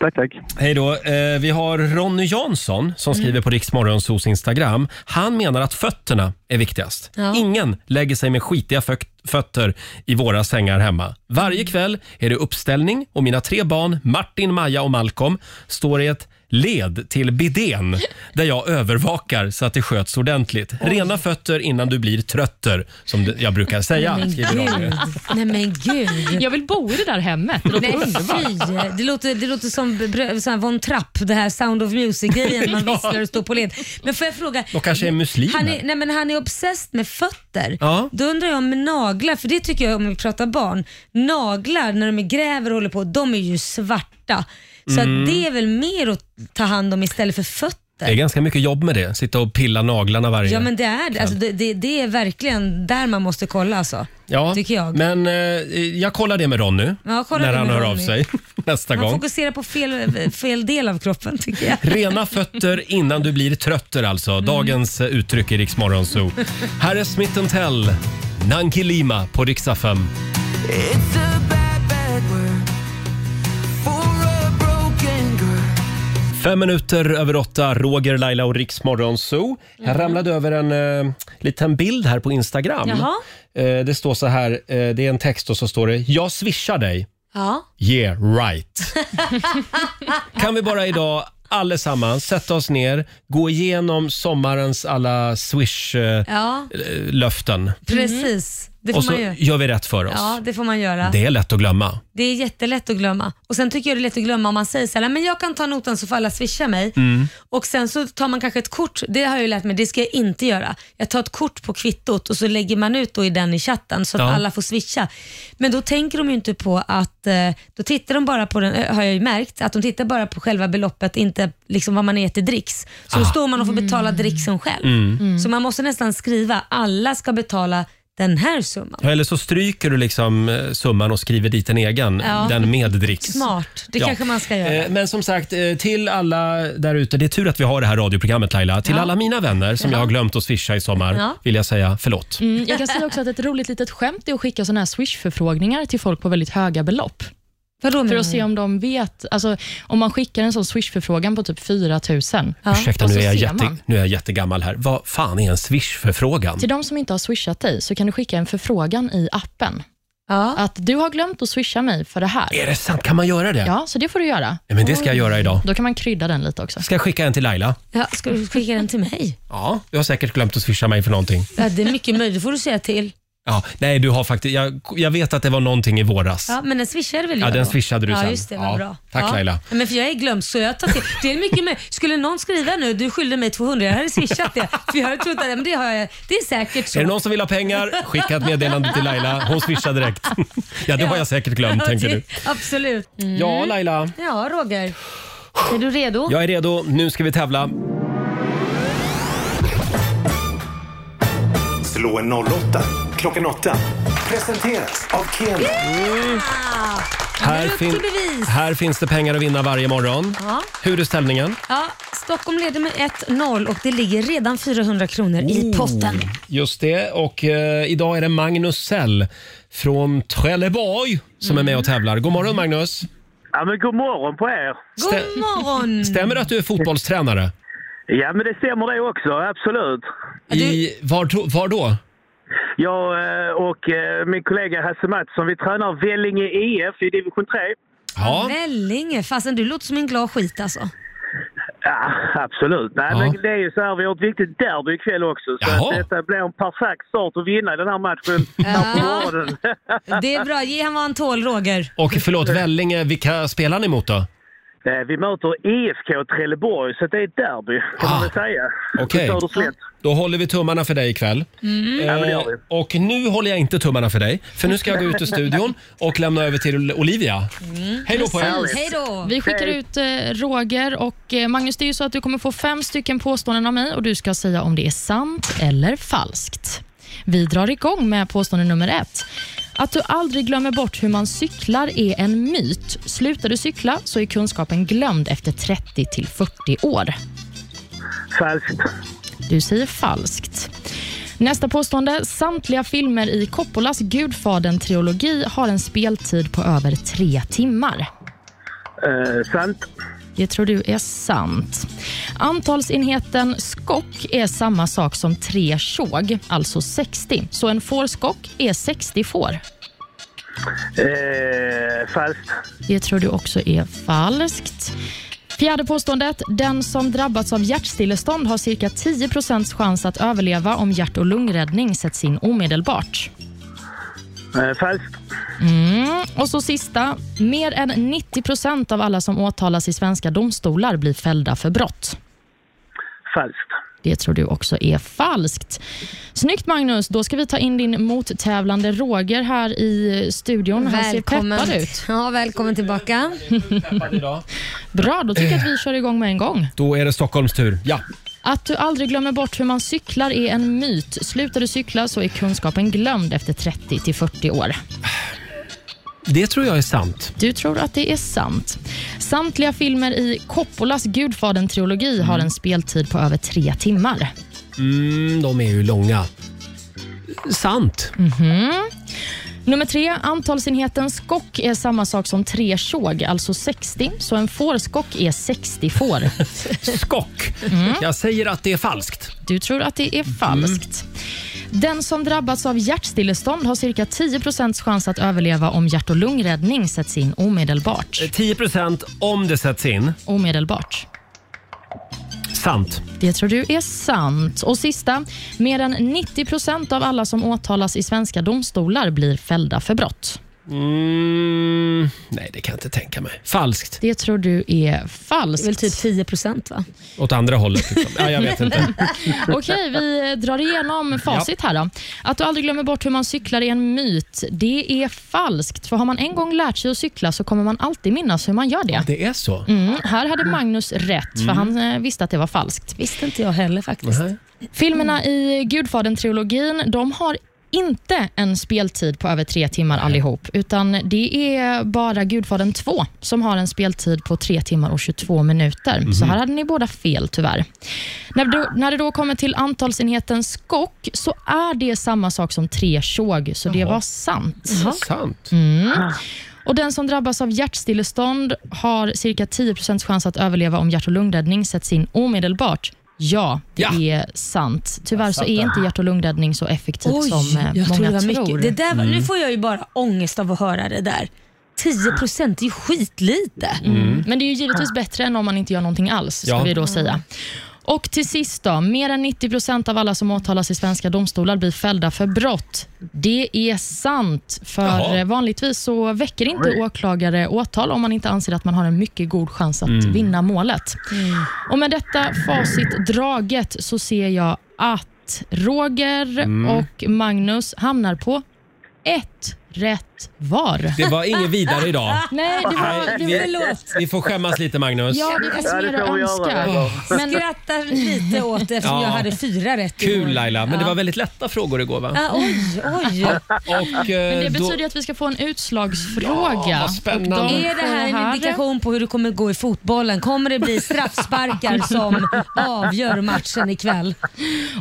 S9: Tack, tack.
S1: Hej då. Eh, vi har Ronny Jansson som
S2: Mm.
S1: skriver på Riksmorgonsos Instagram. Han menar att fötterna är viktigast.
S2: Ja.
S1: Ingen lägger sig med skitiga fök- fötter i våra sängar hemma.
S2: Mm.
S1: Varje kväll är det uppställning och mina tre barn, Martin, Maja och Malcolm, står i ett led till bidén där jag övervakar så att det sköts ordentligt. Rena fötter innan du blir trötter, som det- jag brukar säga.
S2: men
S1: skriver Ronny.
S2: gud. Nej men gud.
S3: Jag vill bo i det där hemmet. Det låter
S2: Nej
S3: underbart.
S2: fy. Det låter, det låter som brö- så här Von Trapp, det här Sound of Music-grejen. Man
S1: Ja.
S2: visslar och står på led. Men får jag fråga.
S1: De kanske är muslimer.
S2: Han är, nej men han är obsessed med fötter.
S1: Ja.
S2: Då undrar jag om naglar, för det tycker jag om vi pratar barn. Naglar när de är gräver och håller på, de är ju svarta. Så
S1: Mm.
S2: att det är väl mer att ta hand om istället för
S1: Det är
S2: fötter.
S1: ganska mycket jobb med det, sitta och pilla naglarna varje
S2: Ja men det är det. Alltså, det, det. Det är verkligen där man måste kolla alltså.
S1: Ja,
S2: Tycker jag.
S1: men eh, jag kollar det med Ronny
S2: Ja, kolla
S1: när
S2: det
S1: han
S2: med
S1: hör
S2: Ronny.
S1: av sig nästa
S2: Man
S1: gång.
S2: fokuserar på fel, fel del av kroppen tycker jag.
S1: Rena fötter innan du blir trötter alltså.
S2: Mm.
S1: Dagens eh, uttryck i Rix Morgon Zoo. Här är Smith Tell, Nanki Lima på Rix FM. Fem minuter över åtta, Roger, Laila och Rix Morgon Zoo.
S2: Mm.
S1: Jag ramlade över en eh, liten bild här på Instagram.
S2: Jaha.
S1: Eh, det står så här, eh, det är en text och så står det “Jag swishar dig”.
S2: Ja.
S1: Yeah, right. kan vi bara idag allesammans sätta oss ner, gå igenom sommarens alla eh, swish-löften
S2: Ja, precis. Det får
S1: och så
S2: man ju.
S1: gör vi rätt för oss.
S2: Ja, det får man göra. Det...
S1: Det är lätt att glömma.
S2: är jättelätt att glömma. Och Sen tycker jag det är lätt att glömma om man säger så här, men jag kan ta notan så får alla swisha mig.
S1: Mm.
S2: Och Sen så tar man kanske ett kort, det har jag ju lärt mig, det ska jag inte göra. Jag tar ett kort på kvittot och så lägger man ut då i den i chatten så att
S1: Ja.
S2: alla får swisha. Men då tänker de ju inte på att, eh, då tittar de bara på den, eh, har jag ju märkt, att de tittar bara på själva beloppet, inte liksom vad man äter till dricks. Så
S1: Ah.
S2: då står man och får betala
S3: Mm.
S2: dricksen själv.
S1: Mm.
S2: Så man måste nästan skriva, alla ska betala den här summan.
S1: Eller så stryker du liksom eh, summan och skriver dit en egen,
S2: Ja.
S1: den med dricks.
S2: Smart, det
S1: Ja.
S2: kanske man ska göra.
S1: Eh, Men som sagt, eh, till alla där ute, det är tur att vi har det här radioprogrammet Laila. Till alla mina vänner som jag har glömt att swisha i sommar
S2: Ja.
S1: vill jag säga förlåt.
S3: Mm, jag kan säga också att ett roligt litet skämt är att skicka såna här Swish-förfrågningar till folk på väldigt höga belopp.
S2: Vadå
S3: För
S2: menar
S3: att se
S2: du?
S3: om de vet. Alltså, om man skickar en sån Swish-förfrågan på typ 4 000.
S1: Ursäkta,
S3: Och
S1: nu
S3: så
S1: är, jag
S3: ser
S1: jätte,
S3: man.
S1: nu är jag jättegammal här. Vad fan är en swish-förfrågan?
S3: Till de som inte har swishat dig så kan du skicka en förfrågan i appen.
S2: Ja.
S3: Att du har glömt att swisha mig för det här.
S1: Är det sant? Kan man göra det?
S3: Ja, så det får du göra.
S1: Ja, men det ska jag göra idag.
S3: Då kan man krydda den lite också.
S1: Ska jag skicka en till Laila?
S2: Ja, ska du skicka den till mig?
S1: Ja. Du har säkert glömt att swisha mig för någonting.
S2: Ja, det är mycket möjligt, det får du säga till.
S1: Ja, nej, du har faktiskt... Jag, jag vet att det var någonting i våras.
S2: Ja, men den swishade väl
S1: Ja,
S2: jag
S1: den
S2: då?
S1: swishade du
S2: ja,
S1: sen.
S2: Ja, just det, vad
S1: Ja,
S2: bra.
S1: tack,
S2: ja.
S1: Laila.
S2: Ja, Men för jag är glömsk så jag tar till. Det är mycket med. Skulle någon skriva nu, du skyllde mig 200, jag hade swishat det. För jag hade trott att, ja, men det har jag, det är säkert så.
S1: Är det någon som vill ha pengar? Skicka ett meddelande till Laila. Hon swishar direkt. Ja, det har jag säkert glömt,
S2: Ja,
S1: tänkte
S2: det-
S1: du.
S2: Absolut.
S1: Ja, Laila.
S2: Ja, Roger. Mm. Är du redo?
S1: Jag är redo. Nu ska vi tävla.
S4: Slå en 08 klockan 8. Presenteras av Keno.
S2: Ah,
S1: Här,
S2: nu upp till
S1: fin-
S2: bevis.
S1: här finns det pengar att vinna varje morgon.
S2: Ja.
S1: Hur är ställningen?
S2: Ja, Stockholm leder med 1-0 och det ligger redan 400 kronor
S1: Oh.
S2: i potten.
S1: Just det. Och eh, idag är det Magnus Sell från Trelleborg som är med och tävlar. God morgon, Magnus.
S9: Ja, men god morgon på er!
S1: Stä-
S2: God morgon!
S1: Stämmer det att du är fotbollstränare?
S9: Ja, men det stämmer det också, absolut.
S1: I, var, då- var då?
S9: Jag eh, och eh, min kollega Hasse Mattsson, vi tränar Vellinge IF i division 3.
S1: Ja.
S2: Vellinge, fasen du låter som en glad skit alltså.
S9: Ja, absolut. Nej,
S1: Ja.
S9: men det är ju så här, vi har ett viktigt derby ikväll också. Så
S1: Jaha.
S9: att detta blir en perfekt start att vinna den här matchen här på
S2: Ja,
S9: morgonen.
S2: det är bra, ge han vad han tål Roger.
S1: Och förlåt, Vellinge, vilka spelar ni mot då?
S9: Eh, Vi möter IFK Trelleborg, så det är ett derby kan man väl säga.
S1: Ah, Okej.
S9: På Söderslätt.
S1: Då håller vi tummarna för dig ikväll.
S2: Mm.
S9: Ja, men det
S1: Eh,
S9: gör vi.
S1: och nu håller jag inte tummarna för dig, för nu ska jag gå ut ur studion och lämna över till Olivia.
S2: Mm.
S1: Hej då på er!
S3: Precis.
S2: Hej då.
S3: Vi skickar
S9: Hej.
S3: ut eh, Roger och eh, Magnus, det är ju så att du kommer få fem stycken påståenden av mig och du ska säga om det är sant eller falskt. Vi drar igång med påstående nummer ett. Att du aldrig glömmer bort hur man cyklar är en myt. Slutar du cykla så är kunskapen glömd efter 30 till 40 år.
S9: Falskt.
S3: Du säger falskt. Nästa påstående. Samtliga filmer i Coppolas Gudfadern-trilogi har en speltid på över tre timmar.
S9: Eh, sant.
S3: Det tror du är sant. Antalsenheten skock är samma sak som tre tjog, alltså 60. Så en fårskock är 60 får.
S9: Eh, falskt.
S3: Det tror du också är falskt. Fjärde påståendet. Den som drabbats av hjärtstillestånd har cirka 10 chans att överleva om hjärt och lungräddning sätts in omedelbart.
S9: Eh, falskt.
S3: Mm. Och så sista. Mer än 90 av alla som åtalas i svenska domstolar blir fällda för brott.
S9: Falskt.
S3: Det tror du också är falskt. Snyggt Magnus, då ska vi ta in din mottävlande Roger här i studion. Han ser peppad ut.
S2: Ja, välkommen tillbaka.
S3: Bra, då tycker jag att vi kör igång med en gång.
S1: Då är det Stockholms tur. Ja,
S3: Att du aldrig glömmer bort hur man cyklar är en myt. Slutar du cykla så är kunskapen glömd efter 30 till 40 år.
S1: det tror jag är sant.
S3: Du tror att det är sant. Samtliga filmer i Coppolas Gudfadern-trilogi har en speltid på över tre timmar.
S1: Mm, de är ju långa. Sant.
S3: Mm. Nummer tre, antalsenheten skock är samma sak som tre tjog, alltså 60. Så en fårskock är 60 får.
S1: Skock.
S3: Mm.
S1: Jag säger att det är falskt.
S3: Du tror att det är falskt.
S2: Mhm.
S3: Den som drabbats av hjärtstillestånd har cirka 10 chans att överleva om hjärt och lungräddning sätts in omedelbart.
S1: 10 om det sätts in.
S3: Omedelbart.
S1: Sant.
S3: Det tror du är sant. Och sista, mer än 90 av alla som åtalas i svenska domstolar blir fällda för brott.
S1: Mm, nej, det kan jag inte tänka mig. Falskt.
S3: Det tror du är falskt.
S2: Det är väl typ 10 procent va?
S1: Åt andra hållet. Liksom. Ja, jag vet inte.
S3: Okej, vi drar igenom facit här då. Att du aldrig glömmer bort hur man cyklar är en myt. Det är falskt, för har man en gång lärt sig att cykla så kommer man alltid minnas hur man gör det.
S1: Det är så?
S3: Mm, här hade Magnus rätt, för han eh, visste att det var falskt.
S2: Visste inte jag heller faktiskt.
S1: Nej.
S3: Filmerna i Gudfadern-trilogin, de har inte en speltid på över tre timmar allihop, utan det är bara Gudfadern 2 som har en speltid på tre timmar och 22 minuter. Så här hade ni båda fel tyvärr. När, då, när det då kommer till antalsenheten skock så är det samma sak som tre tjog, så det var sant.
S1: Sant.
S3: Mm. Och Den som drabbas av hjärtstillestånd har cirka 10 chans att överleva om hjärt och lungräddning sätts in omedelbart. Ja, det
S1: Ja.
S3: är sant. Tyvärr så är inte hjärt och lungräddning så effektivt
S2: Oj,
S3: som eh,
S2: jag tror det
S3: många
S2: var
S3: tror.
S2: mycket. Det där var,
S1: Mm.
S2: Nu får jag ju bara ångest av att höra det där. 10 procent är ju skitlite.
S3: Mm. Men det är ju givetvis bättre än om man inte gör någonting alls, ska
S1: Ja.
S3: vi då säga. Och till sist då, mer än 90 av alla som åtalas i svenska domstolar blir fällda för brott. Det är sant, för
S1: Jaha.
S3: eh, vanligtvis så väcker inte åklagare åtal om man inte anser att man har en mycket god chans att vinna målet. Och med detta facit draget så ser jag att Roger och Magnus hamnar på ett rätt var.
S1: Det var inget vidare idag.
S3: Nej, det var, det var
S2: Förlåt.
S1: Vi får skämmas lite, Magnus.
S3: Ja, det finns
S9: Ja, det
S3: mer att
S9: får vi
S3: önska.
S9: göra.
S2: Men skrattar lite åt det eftersom
S1: Ja.
S2: jag hade fyra rätt
S1: Kul,
S2: igår.
S1: Laila. Men det
S2: Ja.
S1: var väldigt lätta frågor igår, va?
S2: Ah, oj, oj.
S1: Och,
S3: Men det
S1: eh, då,
S3: betyder ju att vi ska få en utslagsfråga.
S1: Ja, vad spännande.
S3: Och de
S2: Är det här
S3: får
S2: en indikation på hur det kommer gå i fotbollen? Kommer det bli straffsparkar som avgör matchen ikväll?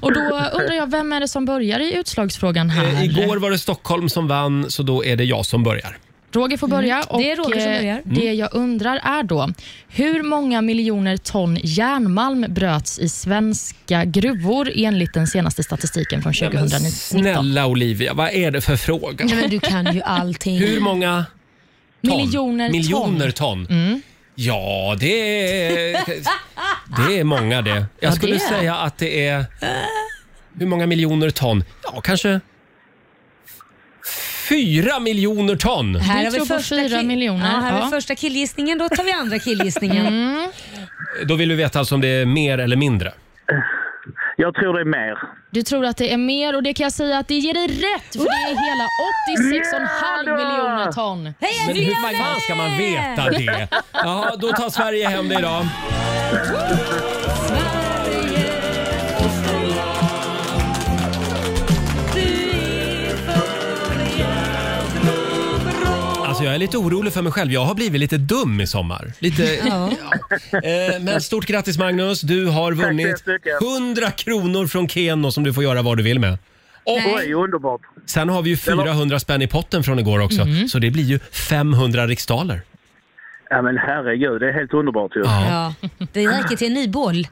S3: Och då undrar jag, vem är det som börjar i utslagsfrågan här?
S1: eh, igår var det Stockholm som vann, så då är det jag som börjar.
S3: Roger får börja. Och
S2: Mm. Det är Roger som
S3: eh,
S2: börjar.
S1: Mm.
S3: Det jag undrar är då, hur många miljoner ton järnmalm bröts i svenska gruvor enligt den senaste statistiken från 2019?
S1: Snälla Olivia, vad är det för fråga?
S2: Nej, men du kan ju allting.
S1: Hur många ton?
S3: Miljoner ton. Mm.
S1: Miljoner ton. Ja, det är, det är många det. Jag skulle
S3: det är det.
S1: säga att det är... Hur många miljoner ton? Ja, kanske Fyra miljoner ton!
S2: Här
S3: Vi
S2: har vi
S3: tror på
S2: första
S3: fyra
S2: kill-
S3: miljoner,
S2: Ja, Mm. här har
S3: ja.
S2: vi första killgissningen, då tar vi andra killgissningen.
S1: Då vill vi veta alltså om det är mer eller mindre.
S9: Jag tror det är mer.
S3: Du tror att det är mer och det kan jag säga att det ger dig rätt för det är hela 86,5 miljoner ton.
S1: Men hur fan ska man veta det? Ja, då tar Sverige hem det idag. Alltså jag är lite orolig för mig själv. Jag har blivit lite dum i sommar. Lite,
S2: Ja.
S1: eh, men stort grattis Magnus. Du har vunnit
S9: så mycket.
S1: 100 kronor från Keno som du får göra vad du vill med.
S9: Oj, underbart.
S1: Sen har vi ju 400 spänn i potten från igår också.
S2: Mm.
S1: Så det blir ju 500 riksdaler.
S9: Ja, men herregud, det är helt underbart ju.
S2: Ja. Det räcker till en ny boll.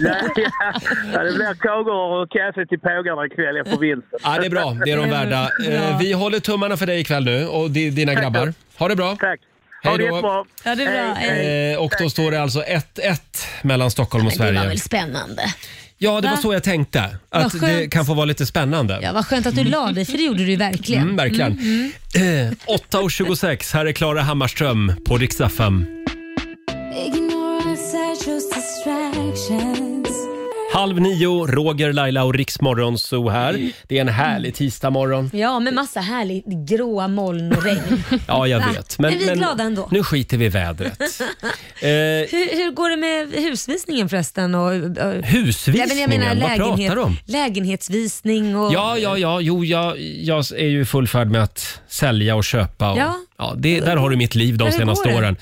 S9: Ja, det blir kakor och kaffe till pågarna ikväll efter vinsten.
S1: Ja, det är bra. Det är de värda. Eh, vi håller tummarna för dig ikväll nu och di- dina grabbar. Ha det bra.
S9: Tack.
S1: Hej
S9: Ha det
S1: då.
S9: jättebra.
S2: Ja, det är bra. Hej.
S1: Eh, och då står det alltså 1-1 mellan Stockholm och
S2: Men det var
S1: Sverige.
S2: väl spännande?
S1: Ja, det var
S2: Va?
S1: så jag tänkte. Att
S2: Vad
S1: det
S2: skönt.
S1: kan få vara lite spännande.
S2: Ja, vad skönt att du la dig, för det gjorde du verkligen.
S1: Mm, verkligen.
S2: mm.
S1: Eh, 8.26, här är Klara Hammarström på Rix FM.
S2: Mm.
S1: Halv nio, Roger, Laila och Rix Morgonzoo här. Det är en härlig tisdagmorgon.
S2: Ja, med massa härligt gråa moln och regn.
S1: Ja, jag
S2: Va?
S1: vet.
S2: Är vi glada ändå?
S1: Nu skiter vi i vädret. Eh,
S2: hur, hur går det med husvisningen förresten? Och, och, Ja, men
S1: husvisningen,
S2: jag menar
S1: vad pratar
S2: lägenhet,
S1: du om?
S2: lägenhetsvisning och...
S1: Ja, ja, ja. Jo, jag, jag är ju i full färd med att sälja och köpa. Och,
S2: Ja.
S1: det, där har du mitt liv de
S2: Hur går
S1: senaste
S2: det?
S1: åren.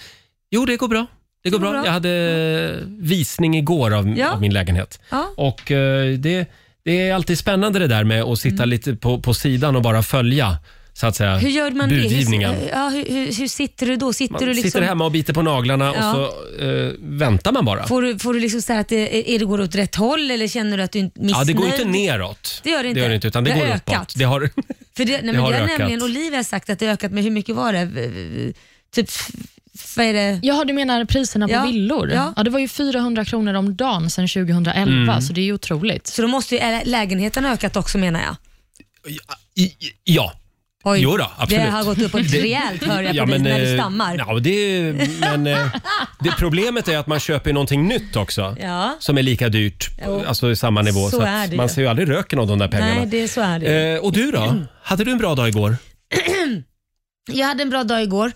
S1: Jo, det går bra. Det går bra. Jag hade visning igår av,
S2: Ja.
S1: av min lägenhet.
S2: Ja.
S1: Och eh, det, det är alltid spännande det där med att sitta lite på, på sidan och bara följa så att säga,
S2: Mm. Hur gör man
S1: budgivningen.
S2: det? Hur, ja, hur, hur, hur sitter du då? Sitter
S1: Man
S2: du liksom...
S1: sitter hemma och biter på naglarna och
S2: Ja.
S1: så eh, väntar man bara.
S2: Får du, får du liksom säga att det, är det går åt rätt håll eller känner du att du är missnöjd?
S1: Ja, det går ju inte neråt.
S2: Det gör det inte.
S1: Det, utan det,
S2: Det har
S1: går
S2: ökat.
S1: uppåt. Det har,
S2: För det, nej, men det
S1: har
S2: har
S1: ökat.
S2: nämligen Olivia sagt att det har ökat med, hur mycket var det? V- v- Typ, f- vad är det?
S3: Jaha, du menar priserna på
S2: Ja,
S3: villor?
S2: ja.
S3: Ja. det var ju 400 kronor om dagen sedan 2011, så det är ju otroligt.
S2: Så då måste ju ä- lägenheten ha ökat också menar jag.
S1: I- i- ja,
S2: Oj,
S1: Jo då, absolut.
S2: Det har gått uppåt
S1: Det-
S2: rejält hör jag på dig när
S1: eh,
S2: du stammar.
S1: Ja, det, men eh, det, problemet är att man köper någonting nytt också.
S2: Ja.
S1: Som är lika dyrt,
S2: Jo.
S1: alltså i samma nivå.
S2: Så
S1: att
S2: är det
S1: man
S2: ju.
S1: ser ju aldrig röken av de där pengarna.
S2: Nej, det, så Mm. är det.
S1: Eh, och du då? Hade du en bra dag igår?
S2: Jag hade en bra dag igår.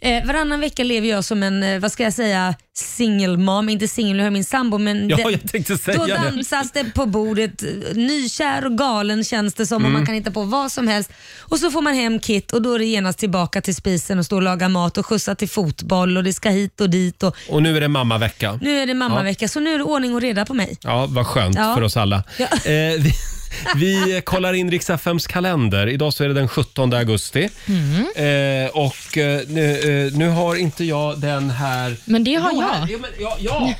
S2: Eh, varannan vecka lever jag som en, eh, vad ska jag säga, single mom. Inte singel, nu har jag min sambo men
S1: Ja,
S2: det-
S1: jag tänkte
S2: Då
S1: säga det.
S2: dansas det på bordet. Nykär och galen känns det som och
S1: Mm.
S2: man kan hitta på vad som helst. Och så får man hem Kit och då är det genast tillbaka till spisen och stå och laga mat och skjutsa till fotboll och det ska hit och dit. Och
S1: Och nu är det mammavecka.
S2: nu är det mammavecka så nu är det ordning och reda på mig.
S1: Ja, vad skönt
S2: Ja.
S1: för oss alla.
S2: Ja.
S1: Eh, vi, vi kollar in Rix FMs kalender. Idag så är det den 17 augusti. Eh, och eh, nu, eh, nu har inte jag den här...
S3: Men det har
S1: Jo, här.
S3: jag.
S1: Ja, men, ja, ja.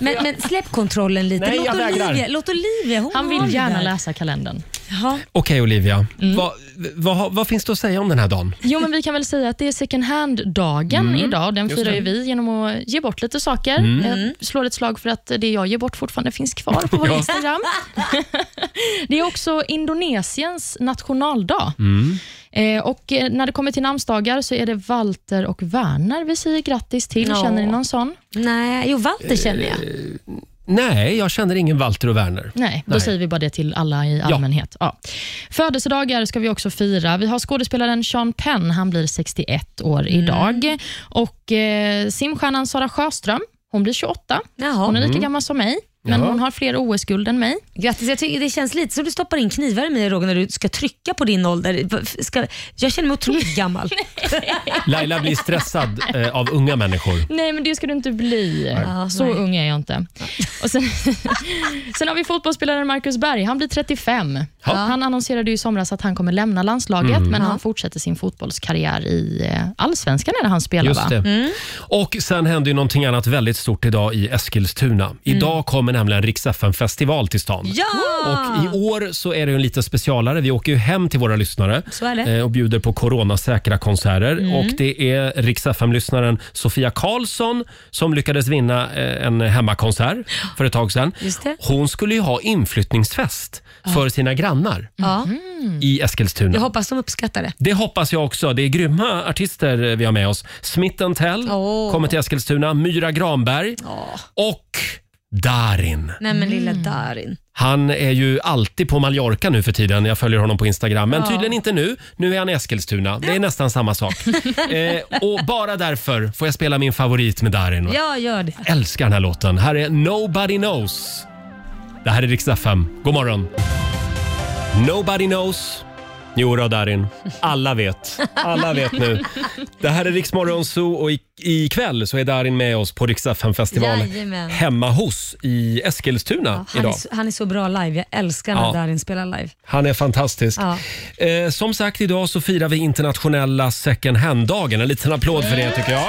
S2: Men, men släpp kontrollen lite.
S1: Nej, jag
S2: låt,
S1: vägrar.
S2: Olivia, låt Olivia, hon
S3: Han
S2: har det
S3: vill gärna
S2: där.
S3: läsa kalendern.
S2: Jaha.
S1: Okej Olivia, vad, vad, vad finns det att säga om den här dagen?
S3: Jo, men vi kan väl säga att det är second hand-dagen idag. Den firar ju vi genom att ge bort lite saker. Jag slår ett slag för att det jag ger bort fortfarande finns kvar på vår Instagram. det är också Indonesiens nationaldag. Eh, och eh, När det kommer till namnsdagar så är det Walter och Werner vi säger grattis till.
S2: Ja.
S3: Känner ni någon sån?
S2: Nej, jo Walter känner jag.
S1: Nej, jag känner ingen Walter och Werner.
S3: Nej, då
S1: Nej.
S3: säger vi bara det till alla i allmänhet. Ja. Födelsedagar ska vi också fira. Vi har skådespelaren Sean Penn, han blir 61 år idag. Och eh, simstjärnan Sara Sjöström, hon blir 28.
S2: Jaha.
S3: Hon är lika gammal som mig, men
S1: Jaha.
S3: hon har fler OS-guld än mig.
S2: Grattis, jag tycker det känns lite som du stoppar in knivar i mig Roger när du ska trycka på din ålder. Ska, jag känner mig otroligt gammal.
S1: Laila blir stressad eh, av unga människor.
S3: Nej, men det ska du inte bli.
S2: Ja,
S3: Så
S2: nej.
S3: ung är jag inte. Och sen, sen har vi fotbollsspelaren Marcus Berg. Han blir 35. Han annonserade ju i somras att han kommer lämna landslaget, men han fortsätter sin fotbollskarriär i eh, allsvenskan när han spelar. va?
S1: Just det. Och sen hände ju någonting annat väldigt stort idag i Eskilstuna. Idag kommer nämligen Rix festival till stan.
S2: Ja! Ah.
S1: Och I år så är det ju en lite specialare. Vi åker ju hem till våra lyssnare
S2: Så är det. Mm.
S1: eh, och bjuder på coronasäkra konserter. Och Det är Rix lyssnaren Sofia Karlsson som lyckades vinna eh, en hemmakonsert för ett tag sedan.
S2: Just det.
S1: Hon skulle ju ha inflyttningsfest för sina grannar
S2: Ja.
S1: i Eskilstuna.
S2: Mm. Jag hoppas de uppskattar det.
S1: Det hoppas jag också. Det är grymma artister vi har med oss. Smith Tell
S2: Åh.
S1: kommer till Eskilstuna, Myra Granberg och Darin.
S2: Nej men lilla Darin.
S1: Han är ju alltid på Mallorca nu för tiden. Jag följer honom på Instagram. Men tydligen inte nu. Nu är han i Eskilstuna. Det är nästan samma sak. eh, och bara därför får jag spela min favorit med Darin.
S2: Ja, gör det.
S1: Jag älskar den här låten. Här är Nobody Knows. Det här är riksdag 5. God morgon. Nobody knows. Jo då, Darin. Alla vet. Alla vet nu. Det här är Riksmorgon Zoo och i- ikväll så är Darin med oss på riksdag festival
S2: Jajamän.
S1: hemma hos i Eskilstuna
S2: Han är,
S1: idag.
S2: så, han är så bra live. Jag älskar när
S1: Ja.
S2: Darin spelar live.
S1: Han är fantastisk.
S2: Ja.
S1: Eh, som sagt, idag så firar vi internationella second hand-dagen. En liten applåd för det tycker jag.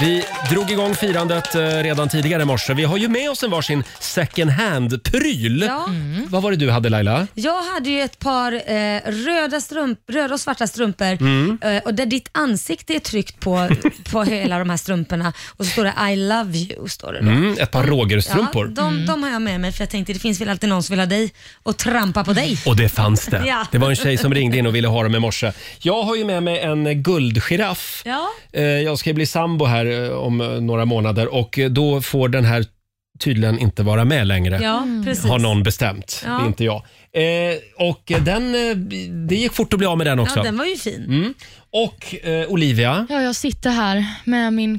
S1: Vi drog igång firandet eh, redan tidigare i morse. Vi har ju med oss en varsin second hand-pryl. Mm.
S2: Ja.
S1: Vad var det du hade Laila?
S2: Mm. Jag hade ju ett par eh, röda, strump, röda och svarta strumpor eh, och där ditt ansikte är tryckt på, på hela de här strumporna och så står det I love you. Står det då.
S1: Mm, ett par
S2: Ja,
S1: Roger-strumpor.
S2: de, de har jag med mig för jag tänkte det finns väl alltid någon som vill ha dig och trampa på dig.
S1: Och det fanns det.
S2: Ja.
S1: Det var en tjej som ringde in och ville ha dem i morse. Jag har ju med mig en guldgiraff.
S2: Ja.
S1: Eh, Jag ska bli sambo här eh, om eh, några månader och eh, då får den här tydligen inte vara med längre.
S2: Ja, precis.
S1: har någon bestämt.
S2: Ja.
S1: Det är inte jag. Eh, och den, eh, det gick fort att bli av med den också.
S2: Ja, den var ju fin.
S1: Och eh, Olivia,
S3: Ja, jag sitter här med min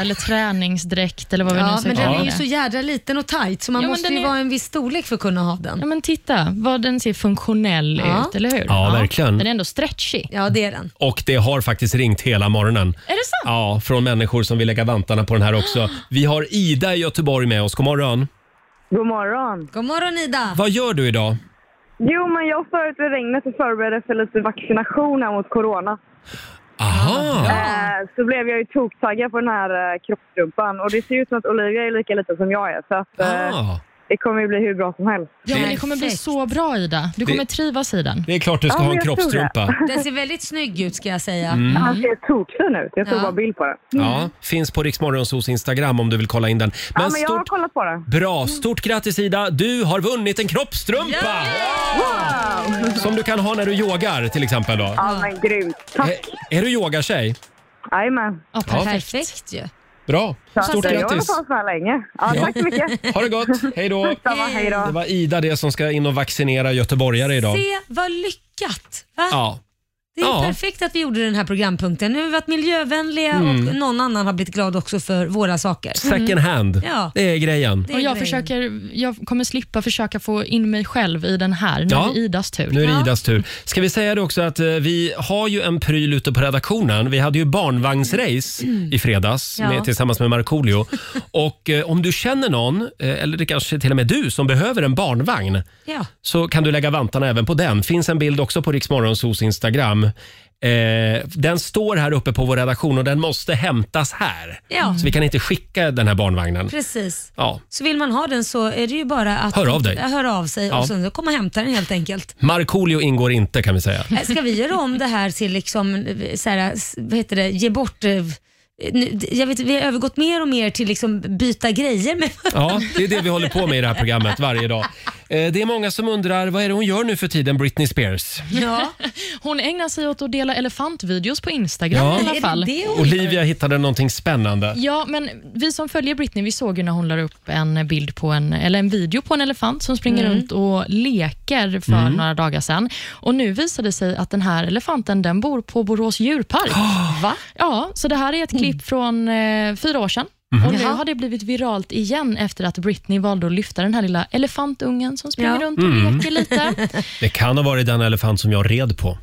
S3: eller träningsdräkt eller vad vi
S2: Ja,
S3: nu ska
S2: men den
S3: kalla
S2: är ju
S3: det.
S2: så jädra liten och tight så man
S3: Ja, men
S2: måste
S3: den
S2: ju
S3: är-
S2: vara en viss storlek för att kunna ha
S3: Ja,
S2: den.
S3: men titta vad den ser funktionell
S2: Ja.
S3: ut, eller hur?
S1: Ja, verkligen.
S3: Den är ändå stretchig.
S2: Ja, det är den.
S1: och det har faktiskt ringt hela morgonen.
S3: Är det sant?
S1: Ja, från människor som vill lägga vantarna på den här också. Vi har Ida i Göteborg med oss. God morgon.
S5: God morgon.
S2: God morgon Ida.
S1: Vad gör du idag?
S5: Jo, men jag var ute i regnet och förberedde för lite vaccination här mot corona.
S1: Aha!
S5: Eh, Så blev jag ju toktaggad på den här eh, kroppstrumpan. Och det ser ut som att Olivia är lika liten som jag är. Så att, eh,
S1: Ah,
S5: det kommer ju bli hur bra som helst.
S3: Ja, men det kommer bli
S2: Perfekt.
S3: så bra Ida. Du kommer trivas i den.
S1: det är klart du ska
S5: Ja,
S1: ha en
S5: jag tror det.
S1: kroppstrumpa.
S2: Den ser väldigt snygg ut ska jag säga.
S1: Mm.
S5: Han ser tokfin ut. Jag tog
S2: Ja.
S5: bara bild på den.
S1: Ja, finns på Riksmorgonsos Instagram om du vill kolla in den.
S5: Mm. Ja,
S1: Men
S5: men jag har
S1: stort,
S5: kollat på den.
S1: bra, stort grattis Ida! Du har vunnit en kroppstrumpa!
S5: Wow!
S1: Som du kan ha när du yogar till exempel då.
S5: Ja, men grymt. Tack.
S1: Är, är du yogatjej?
S5: Jajamän.
S3: Ja,
S1: Ja.
S3: perfekt.
S2: Perfekt ju.
S1: Bra.
S5: Så
S1: Stort
S5: att, eh, Jag håller
S1: grattis.
S5: på så här länge. Ja, tack så mycket.
S1: Ha det gott. Hej då.
S5: Detsamma. Hej då.
S1: Det var Ida det som ska in och vaccinera göteborgare idag.
S2: Se vad lyckat! Va?
S1: Ja.
S2: det är
S1: ja.
S2: perfekt att vi gjorde den här programpunkten. Nu har vi varit miljövänliga och någon annan har blivit glad också för våra saker.
S1: Second hand.
S2: Mm. Ja.
S1: Det är grejen.
S2: Det är
S3: Och jag,
S2: grejen.
S3: försöker, jag kommer slippa försöka få in mig själv i den här. Nu
S1: Ja.
S3: är det Idas tur.
S1: Nu är det
S2: Ja.
S1: Idas tur. Ska vi säga det också att eh, vi har ju en pryl ute på redaktionen. Vi hade ju barnvagnsrace i fredags
S2: Ja.
S1: med, tillsammans med Markoolio. Och eh, om du känner någon, eh, eller det kanske till och med du, som behöver en barnvagn
S2: Ja.
S1: så kan du lägga vantarna även på den. Finns en bild också på Riksmorgonsos Instagram. Eh, den står här uppe på vår redaktion och den måste hämtas här.
S2: Ja.
S1: Så vi kan inte skicka den här barnvagnen.
S2: Precis.
S1: Ja.
S2: Så vill man ha den så är det ju bara att
S1: Hör av dig.
S2: Ja, höra av sig
S1: Ja.
S2: och sen komma och hämta den helt enkelt.
S1: Markoolio ingår inte kan vi säga.
S2: Äh, Ska vi göra om det här till liksom, eh, så här, s- vad heter det, ge bort eh, nu, jag vet, vi har övergått mer och mer till liksom byta grejer med
S1: Ja, det är det vi håller på med i det här programmet varje dag. Eh, det är många som undrar vad är det hon gör nu för tiden, Britney Spears?
S2: ja.
S3: Hon ägnar sig åt att dela elefantvideos på Instagram
S1: Ja.
S3: i
S2: Är
S3: alla
S2: det
S3: fall.
S2: det hon-
S1: Olivia hittade någonting spännande.
S3: Ja, men vi som följer Britney, vi såg ju när hon la upp en bild på en, eller en video på en elefant som springer
S1: Mm.
S3: runt och leker för några dagar sedan. Och nu visade det sig att den här elefanten, den bor på Borås djurpark. Va? Ja, så det här är ett
S1: Mm.
S3: klipp från eh, fyra år sedan.
S1: Mhm.
S3: Och nu
S2: Jaha.
S3: har det blivit viralt igen efter att Britney valde att lyfta den här lilla elefantungen som springer
S2: Ja.
S3: runt och leker lite.
S1: Mm. Det kan ha varit den elefant som jag red på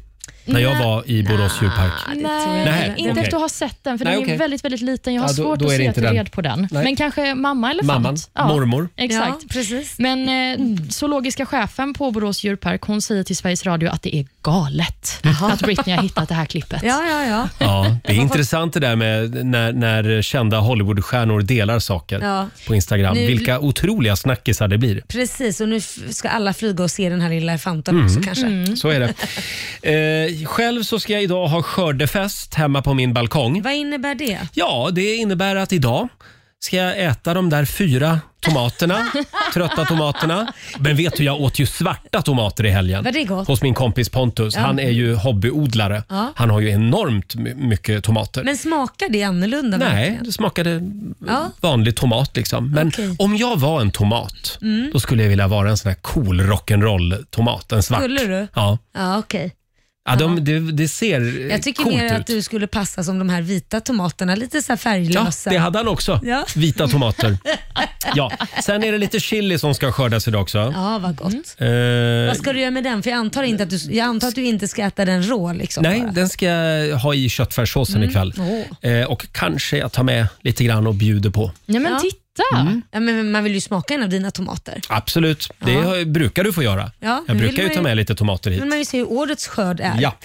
S1: när jag
S3: Nej.
S1: var i Borås djurpark.
S3: Nej,
S1: Nej,
S3: inte
S1: okej.
S3: efter att ha sett den, för
S1: Nej,
S3: den är
S1: okej.
S3: väldigt, väldigt liten. Jag har
S1: Ja, då-
S3: svårt
S1: då är
S3: att
S1: det
S3: se att
S1: inte
S3: jag
S1: den.
S3: red på den.
S1: Nej.
S3: Men kanske mamma elefant?
S1: Mamman, mormor.
S3: Exakt.
S2: Ja, precis.
S3: Men eh,
S2: Mm.
S3: zoologiska chefen på Borås djurpark hon säger till Sveriges Radio att det är galet att Britney har hittat det här klippet.
S2: Ja, ja, ja.
S1: Ja, det är intressant det där med när, när kända Hollywoodstjärnor delar saker
S2: Ja.
S1: på Instagram.
S2: Nu-
S1: Vilka otroliga snackisar det blir.
S2: Precis, och nu f- ska alla flyga och se den här lilla elefanten
S1: Mm.
S2: också kanske.
S3: Mm.
S1: Så är det. Eh, själv så ska jag idag ha skördefest hemma på min balkong.
S2: Vad innebär det?
S1: Ja, det innebär att idag ska jag äta de där fyra tomaterna, trötta tomaterna. Men vet du, jag åt ju svarta tomater i helgen.
S2: Var det gott?
S1: Hos min kompis Pontus.
S2: Ja.
S1: Han är ju hobbyodlare.
S2: Ja.
S1: Han har ju enormt my- mycket tomater.
S2: Men smakar det annorlunda?
S1: Nej,
S2: verkligen?
S1: det smakade
S2: Ja.
S1: vanlig tomat liksom. Men
S2: Okej. Mm.
S1: om jag var en tomat, då skulle jag vilja vara en sån här cool rock'n'roll-tomat. En svart.
S2: Skulle du?
S1: Ja.
S2: Ja, okej.
S1: ja de, det, det ser eh,
S2: Jag tycker
S1: coolt
S2: mer
S1: ut.
S2: att du skulle passa som de här vita tomaterna, lite så här
S1: Ja,
S2: färglösa.
S1: det hade han också.
S2: Ja.
S1: Vita tomater. Ja. Sen är det lite chili som ska skördas idag också.
S2: Ja, vad gott.
S1: Eh,
S2: Vad ska du göra med den? För jag antar, inte att du, jag antar att du inte ska äta den rå. Liksom,
S1: nej,
S2: bara.
S1: den ska jag ha i köttfärssåsen ikväll.
S2: Mm. Åh.
S1: Eh, och kanske jag tar med lite grann och bjuder på.
S3: Ja, men
S2: Ja.
S3: titta!
S2: Ja, men man vill ju smaka en av dina tomater.
S1: Absolut, det har- brukar du få göra.
S2: Ja,
S1: jag
S2: nu
S1: brukar
S2: vill
S1: ju
S2: man
S1: ta
S2: ju-
S1: med lite tomater hit.
S2: Men man vill se hur årets skörd är.
S1: Ja.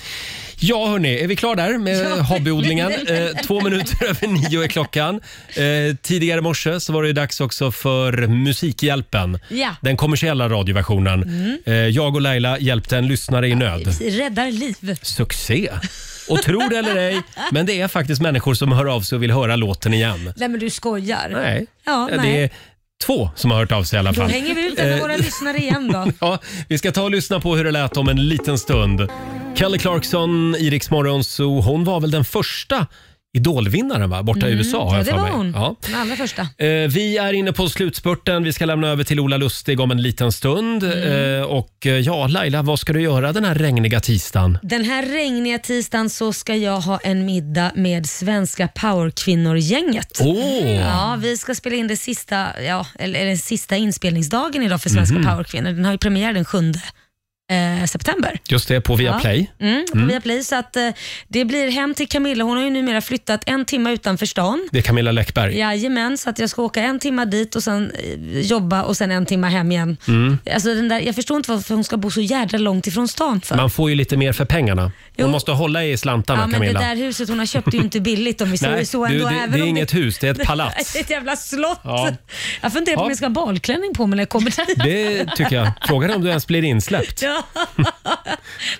S1: Ja, hörni, är vi klara där med
S2: Ja.
S1: hobbyodlingen? Eh, två minuter över nio är klockan. Eh, tidigare i morse så var det ju dags också för Musikhjälpen.
S2: Ja.
S1: Den kommersiella radioversionen.
S2: Mm.
S1: Eh, jag och Laila hjälpte en lyssnare i nöd.
S2: Räddar liv.
S1: Succé! Och tro det eller ej, men det är faktiskt människor som hör av sig och vill höra låten igen.
S2: Nej men du skojar.
S1: Nej,
S2: Ja,
S1: det Eh.
S2: nej.
S1: är två som har hört av sig i alla
S2: Då
S1: fall.
S2: hänger vi ut en av våra lyssnare igen då.
S1: Ja, vi ska ta och lyssna på hur det lät om en liten stund. Kelly Clarkson, i Rix Morgon Zoo, hon var väl den första idolvinnaren va? borta i USA? har
S2: Mm. Ja,
S1: jag
S2: det
S1: för
S2: var
S1: mig.
S2: hon.
S1: Ja.
S2: Den allra första.
S1: Eh, Vi är inne på slutspurten. Vi ska lämna över till Ola Lustig om en liten stund.
S2: Mm.
S1: Eh, Och eh, ja, Laila, vad ska du göra den här regniga tisdagen?
S2: Den här regniga tisdagen så ska jag ha en middag med svenska powerkvinnor-gänget.
S1: Åh!
S2: Ja, vi ska spela in det sista, ja, eller, eller den sista inspelningsdagen idag för Svenska
S1: Mhm.
S2: powerkvinnor. Den har ju premiär den 7 eh, september.
S1: Just det, på Viaplay.
S2: Mm, på Viaplay. Så att, eh, det blir hem till Camilla. Hon har ju numera flyttat en timme utanför stan.
S1: Det är Camilla Läckberg.
S2: Jajamän, så att jag ska åka en timme dit och sen eh, jobba och sen en timme hem igen.
S1: Mm.
S2: Alltså den där, jag förstår inte varför hon ska bo så jädra långt ifrån stan för.
S1: Man får ju lite mer för pengarna. Hon
S2: Jo.
S1: måste hålla i slantarna,
S2: ja, men
S1: Camilla.
S2: det där huset hon har köpt är ju inte billigt om vi säger
S1: Nej,
S2: så.
S1: du,
S2: Ändå,
S1: det,
S2: även
S1: det är
S2: om
S1: inget hus, det är ett palats.
S2: Ett jävla slott.
S1: Ja.
S2: Jag funderar på
S1: Ja.
S2: om jag ska ha balklänning på mig när jag kommer dit.
S1: Det tycker jag. Frågan är om du ens blir insläppt.
S2: Ja.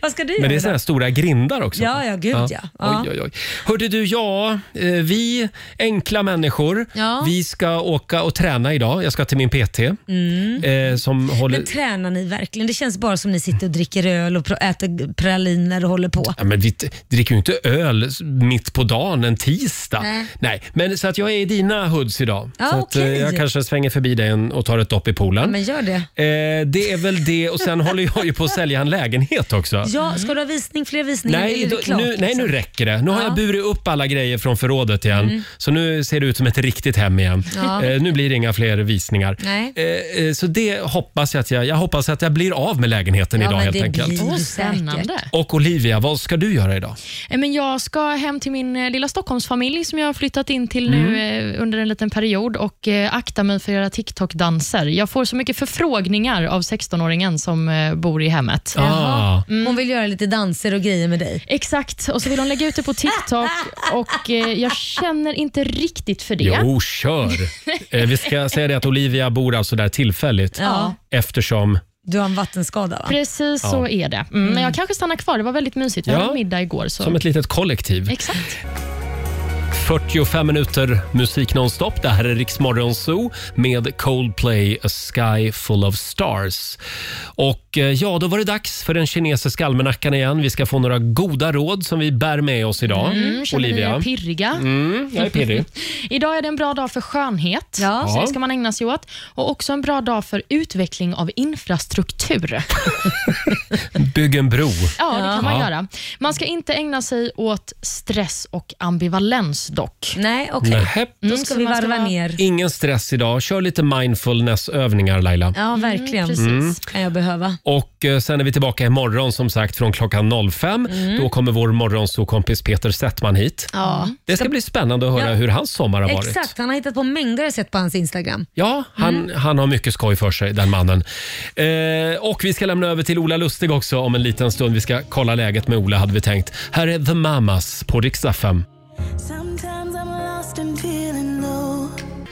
S2: Vad ska du
S1: Men det är
S2: göra?
S1: såna här stora grindar också.
S2: Ja, ja, gud, ja. Ja.
S1: Oj, oj, oj. Hörde du, ja, eh, vi enkla människor,
S2: Ja.
S1: vi ska åka och träna idag. Jag ska till min PT. Eh, som håller...
S2: Mm. Men
S1: Men
S2: tränar ni verkligen? Det känns bara som ni sitter och dricker öl och pro- äter praliner och håller på.
S1: Ja, men vi t- dricker ju inte öl s- mitt på dagen en tisdag.
S2: Nej.
S1: Nej, men så att jag är i dina hoods idag.
S2: Ja,
S1: så att, eh,
S2: okej.
S1: jag kanske svänger förbi dig en- och tar ett dopp i
S2: Ja,
S1: poolen.
S2: men gör det.
S1: eh, det är väl det och sen håller jag ju på att sälja en lägenhet också.
S2: Ja, ska du ha visning, fler visningar? eller
S1: Mm. Nej,
S2: är det
S1: då-
S2: klart,
S1: nu, nej, nu
S2: liksom?
S1: räcker det. Nu har
S2: Ja. Mm.
S1: jag burit upp alla grejer från förrådet igen. Så nu ser det ut som ett riktigt hem igen.
S2: Ja.
S1: Eh, nu blir det inga fler visningar.
S2: Nej.
S1: Eh, eh, så det hoppas jag att jag... Jag hoppas att jag blir av med lägenheten
S2: Ja,
S1: idag
S2: men
S1: helt
S2: det
S1: enkelt.
S2: blir-
S3: Åh,
S2: Mm. Säkert.
S3: spännande.
S1: Och Olivia, vad ska du göra idag?
S3: Eh, Men jag ska hem till min eh, lilla Stockholmsfamilj som jag har flyttat in till nu eh, under en liten period och eh, akta mig för att göra TikTok-danser. Jag får så mycket förfrågningar av 16-åringen som eh, bor i hemmet.
S1: Ah,
S3: Mm.
S2: Hon vill göra lite danser och grejer med dig.
S3: Exakt, och så vill hon lägga ut det på TikTok och eh, jag känner inte riktigt för det.
S1: jo, kör! eh, vi ska säga det att Olivia bor alltså där tillfälligt
S2: Ja.
S1: eftersom...
S2: Du har en vattenskada va?
S3: Precis så är det. Mm, Men jag kanske stannar kvar, det var väldigt mysigt. Vi
S1: Ja.
S3: hade middag igår. Så.
S1: Som ett litet kollektiv.
S3: Exakt.
S1: 45 minuter musik nonstop. Det här är Riksmorgon Zoo med Coldplay A Sky Full of Stars. Och eh, ja, då var det dags för den kinesiska almanackan igen. Vi ska få några goda råd som vi bär med oss idag.
S3: Mm, känner ni
S1: Olivia.
S3: er pirriga?
S1: Mm, jag är pirrig.
S3: Idag är det en bra dag för skönhet.
S2: Ja.
S3: Så
S1: Ja.
S3: det ska man ägna sig åt. Och också en bra dag för utveckling av infrastruktur.
S1: Bygg en bro.
S3: Ja, det kan man
S1: Ja.
S3: göra. Man ska inte ägna sig åt stress och ambivalens dock.
S2: Nej, okej.
S1: Nähä.
S2: Då ska
S3: Mm, så
S2: vi
S3: man
S2: varva
S3: ska vara- Mm,
S2: ner.
S1: Mm. Ingen stress idag. Kör lite mindfulness-övningar Laila.
S2: Ja, verkligen.
S3: Precis.
S1: Mm.
S2: kan jag behöva.
S1: Och eh, sen är vi tillbaka imorgon som sagt från klockan 05. Då kommer vår morgonsokompis Peter Settman hit.
S2: Ja.
S1: Det ska bli spännande att höra
S2: Ja.
S1: hur hans sommar har varit.
S2: Exakt, han har hittat på mängder jag sett på hans Instagram.
S1: Ja, han, han har mycket skoj för sig, den mannen. Eh, och vi ska lämna över till Ola Lustig också om en liten stund. Vi ska kolla läget med Ola, hade vi tänkt. Här är The Mamas på Rix FM.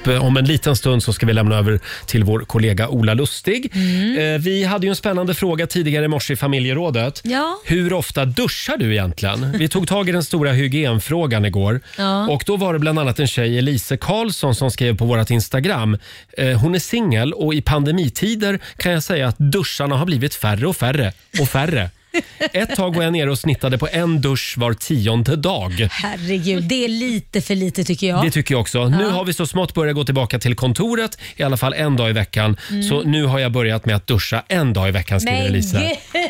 S1: upp. Eh, Om en liten stund så ska vi lämna över till vår kollega Ola Lustig.
S2: Mm.
S1: Eh, Vi hade ju en spännande fråga tidigare i morse i familjerådet.
S2: Ja.
S1: Hur ofta duschar du egentligen? Vi tog tag i den stora hygienfrågan igår.
S2: Ja.
S1: Och Då var det bland annat en tjej, Elise Karlsson, som skrev på vårt Instagram. Eh, Hon är singel och i pandemitider kan jag säga att duscharna har blivit färre och färre och färre. Ett tag var jag nere och snittade på en dusch var tionde dag.
S2: Herregud, det är lite för lite tycker jag.
S1: Det tycker jag också. Nu har vi så smått börjat gå tillbaka till kontoret, i alla fall en dag i veckan.
S2: Mm.
S1: Så nu har jag börjat med att duscha en dag i veckan, skriver
S2: Men
S1: Elise.
S2: gud!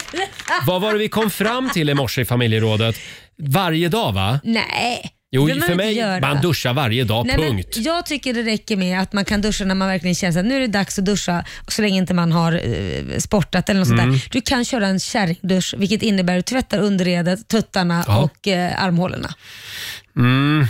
S1: Vad var det vi kom fram till i morse i familjerådet? Varje dag va?
S2: Nej.
S1: Jo,
S2: det behöver
S1: för
S2: man
S1: mig,
S2: inte göra.
S1: man duschar varje dag,
S2: Nej, men
S1: punkt.
S2: jag tycker det räcker med att man kan duscha när man verkligen känner att nu är det dags att duscha, så länge inte man har eh, sportat eller något
S1: Mm.
S2: sånt där. Du kan köra en kärringdusch, vilket innebär att du tvättar underredet, tuttarna
S1: Ja.
S2: och eh, armhålorna. Ja,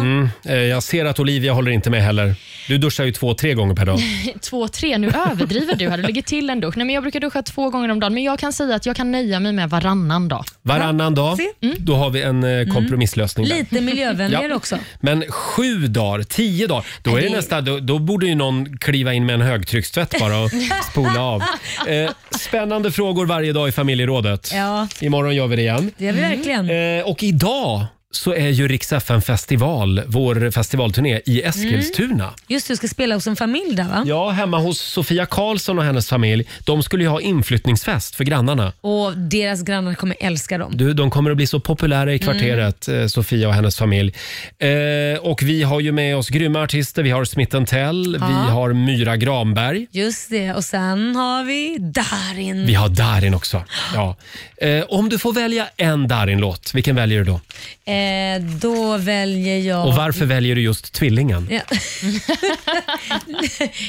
S1: Mm, eh, jag ser att Olivia håller inte med heller. Du duschar ju två, tre gånger per dag.
S3: Två, tre, nu överdriver du här. Du lägger till en dusch. Nej, men jag brukar duscha två gånger om dagen, men jag kan säga att jag kan nöja mig med varannan dag.
S1: Varannan dag,
S2: se. Mm.
S1: då har vi en eh, kompromisslösning. där.
S2: lite miljövänligare
S1: Ja.
S2: också.
S1: Men sju dagar, tio dagar, då, är det
S2: det-
S1: nästa, då, då borde ju någon kliva in med en högtryckstvätt bara och spola av. Eh, spännande frågor varje dag i familjerådet.
S2: Ja.
S1: Imorgon gör vi det igen.
S2: Det är vi verkligen.
S1: Eh, och idag så är ju Rix FM festival, vår festivalturné i Eskilstuna.
S2: Just du ska spela hos en familj där va?
S1: Ja, hemma hos Sofia Karlsson och hennes familj. De skulle ju ha inflyttningsfest för grannarna.
S2: Och deras grannar kommer älska dem.
S1: Du, de kommer att bli så populära i kvarteret, eh, Sofia och hennes familj. Eh, och vi har ju med oss grymma artister. Vi har Smith Tell, vi har Myra Granberg.
S2: Just det, och sen har vi Darin.
S1: Vi har Darin också. Ja. Eh, om du får välja en Darin-låt, vilken väljer du då?
S2: Eh, då väljer jag...
S1: Och varför väljer du just Tvillingen?
S2: Ja.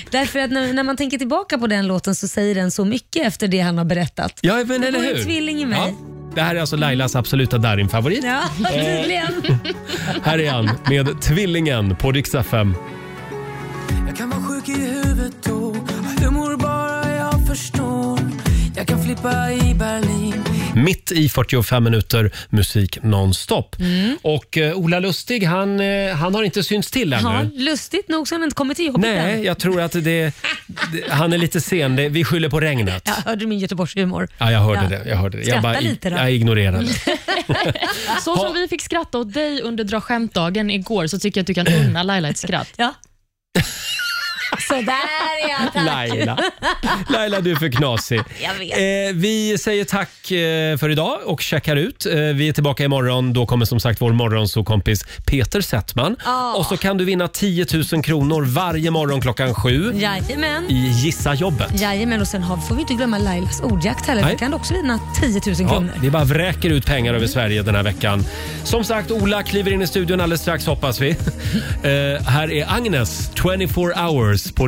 S2: Därför att när, när man tänker tillbaka på den låten så säger den så mycket efter det han har berättat.
S1: Ja, men eller
S2: bor en
S1: hur?
S2: tvilling i mig.
S1: Ja. Det här är alltså Lailas absoluta Darin-favorit.
S2: Ja, tydligen.
S1: Eh. Här är han med Tvillingen på Rix FM.
S9: Jag kan vara sjuk i huvudet då Humor bara jag förstår Jag kan flippa i Berlin
S1: Mitt i 45 minuter musik nonstop.
S2: Mm.
S1: Och eh, Ola Lustig, han, eh, han har inte synts till ännu.
S2: Ja, lustigt nog så har den inte kommit till jobbet
S1: Nej,
S2: än.
S1: jag tror att det, det, han är lite sen. Det, vi skyller på regnet.
S2: Ja, hörde du min Göteborgshumor?
S1: Ja, jag hörde
S2: Ja.
S1: det. Jag, hörde det.
S2: Skratta
S1: jag, bara, i-
S2: lite då.
S1: jag ignorerade.
S3: Så som vi fick skratta åt dig under dra skämtdagen igår, så tycker jag att du kan unna Laila ett skratt.
S2: Ja. Sådär ja, tack.
S1: Laila. Laila, du är för knasig.
S2: Jag vet.
S1: Eh, vi säger tack eh, för idag och checkar ut. Eh, vi är tillbaka imorgon. Då kommer som sagt vår morgonsåkompis Peter Settman.
S2: Ja.
S1: Och så kan du vinna 10 000 kronor varje morgon klockan sju
S2: Jajamän.
S1: i Gissa jobbet.
S2: Jajamän, och sen har, får vi inte glömma Lailas ordjakt heller.
S1: Nej.
S2: Vi kan också vinna 10 000
S1: Ja,
S2: kronor.
S1: vi bara vräker ut pengar över Sverige den här veckan. Som sagt, Ola kliver in i studion alldeles strax hoppas vi. Eh, här är Agnes, 24 hours på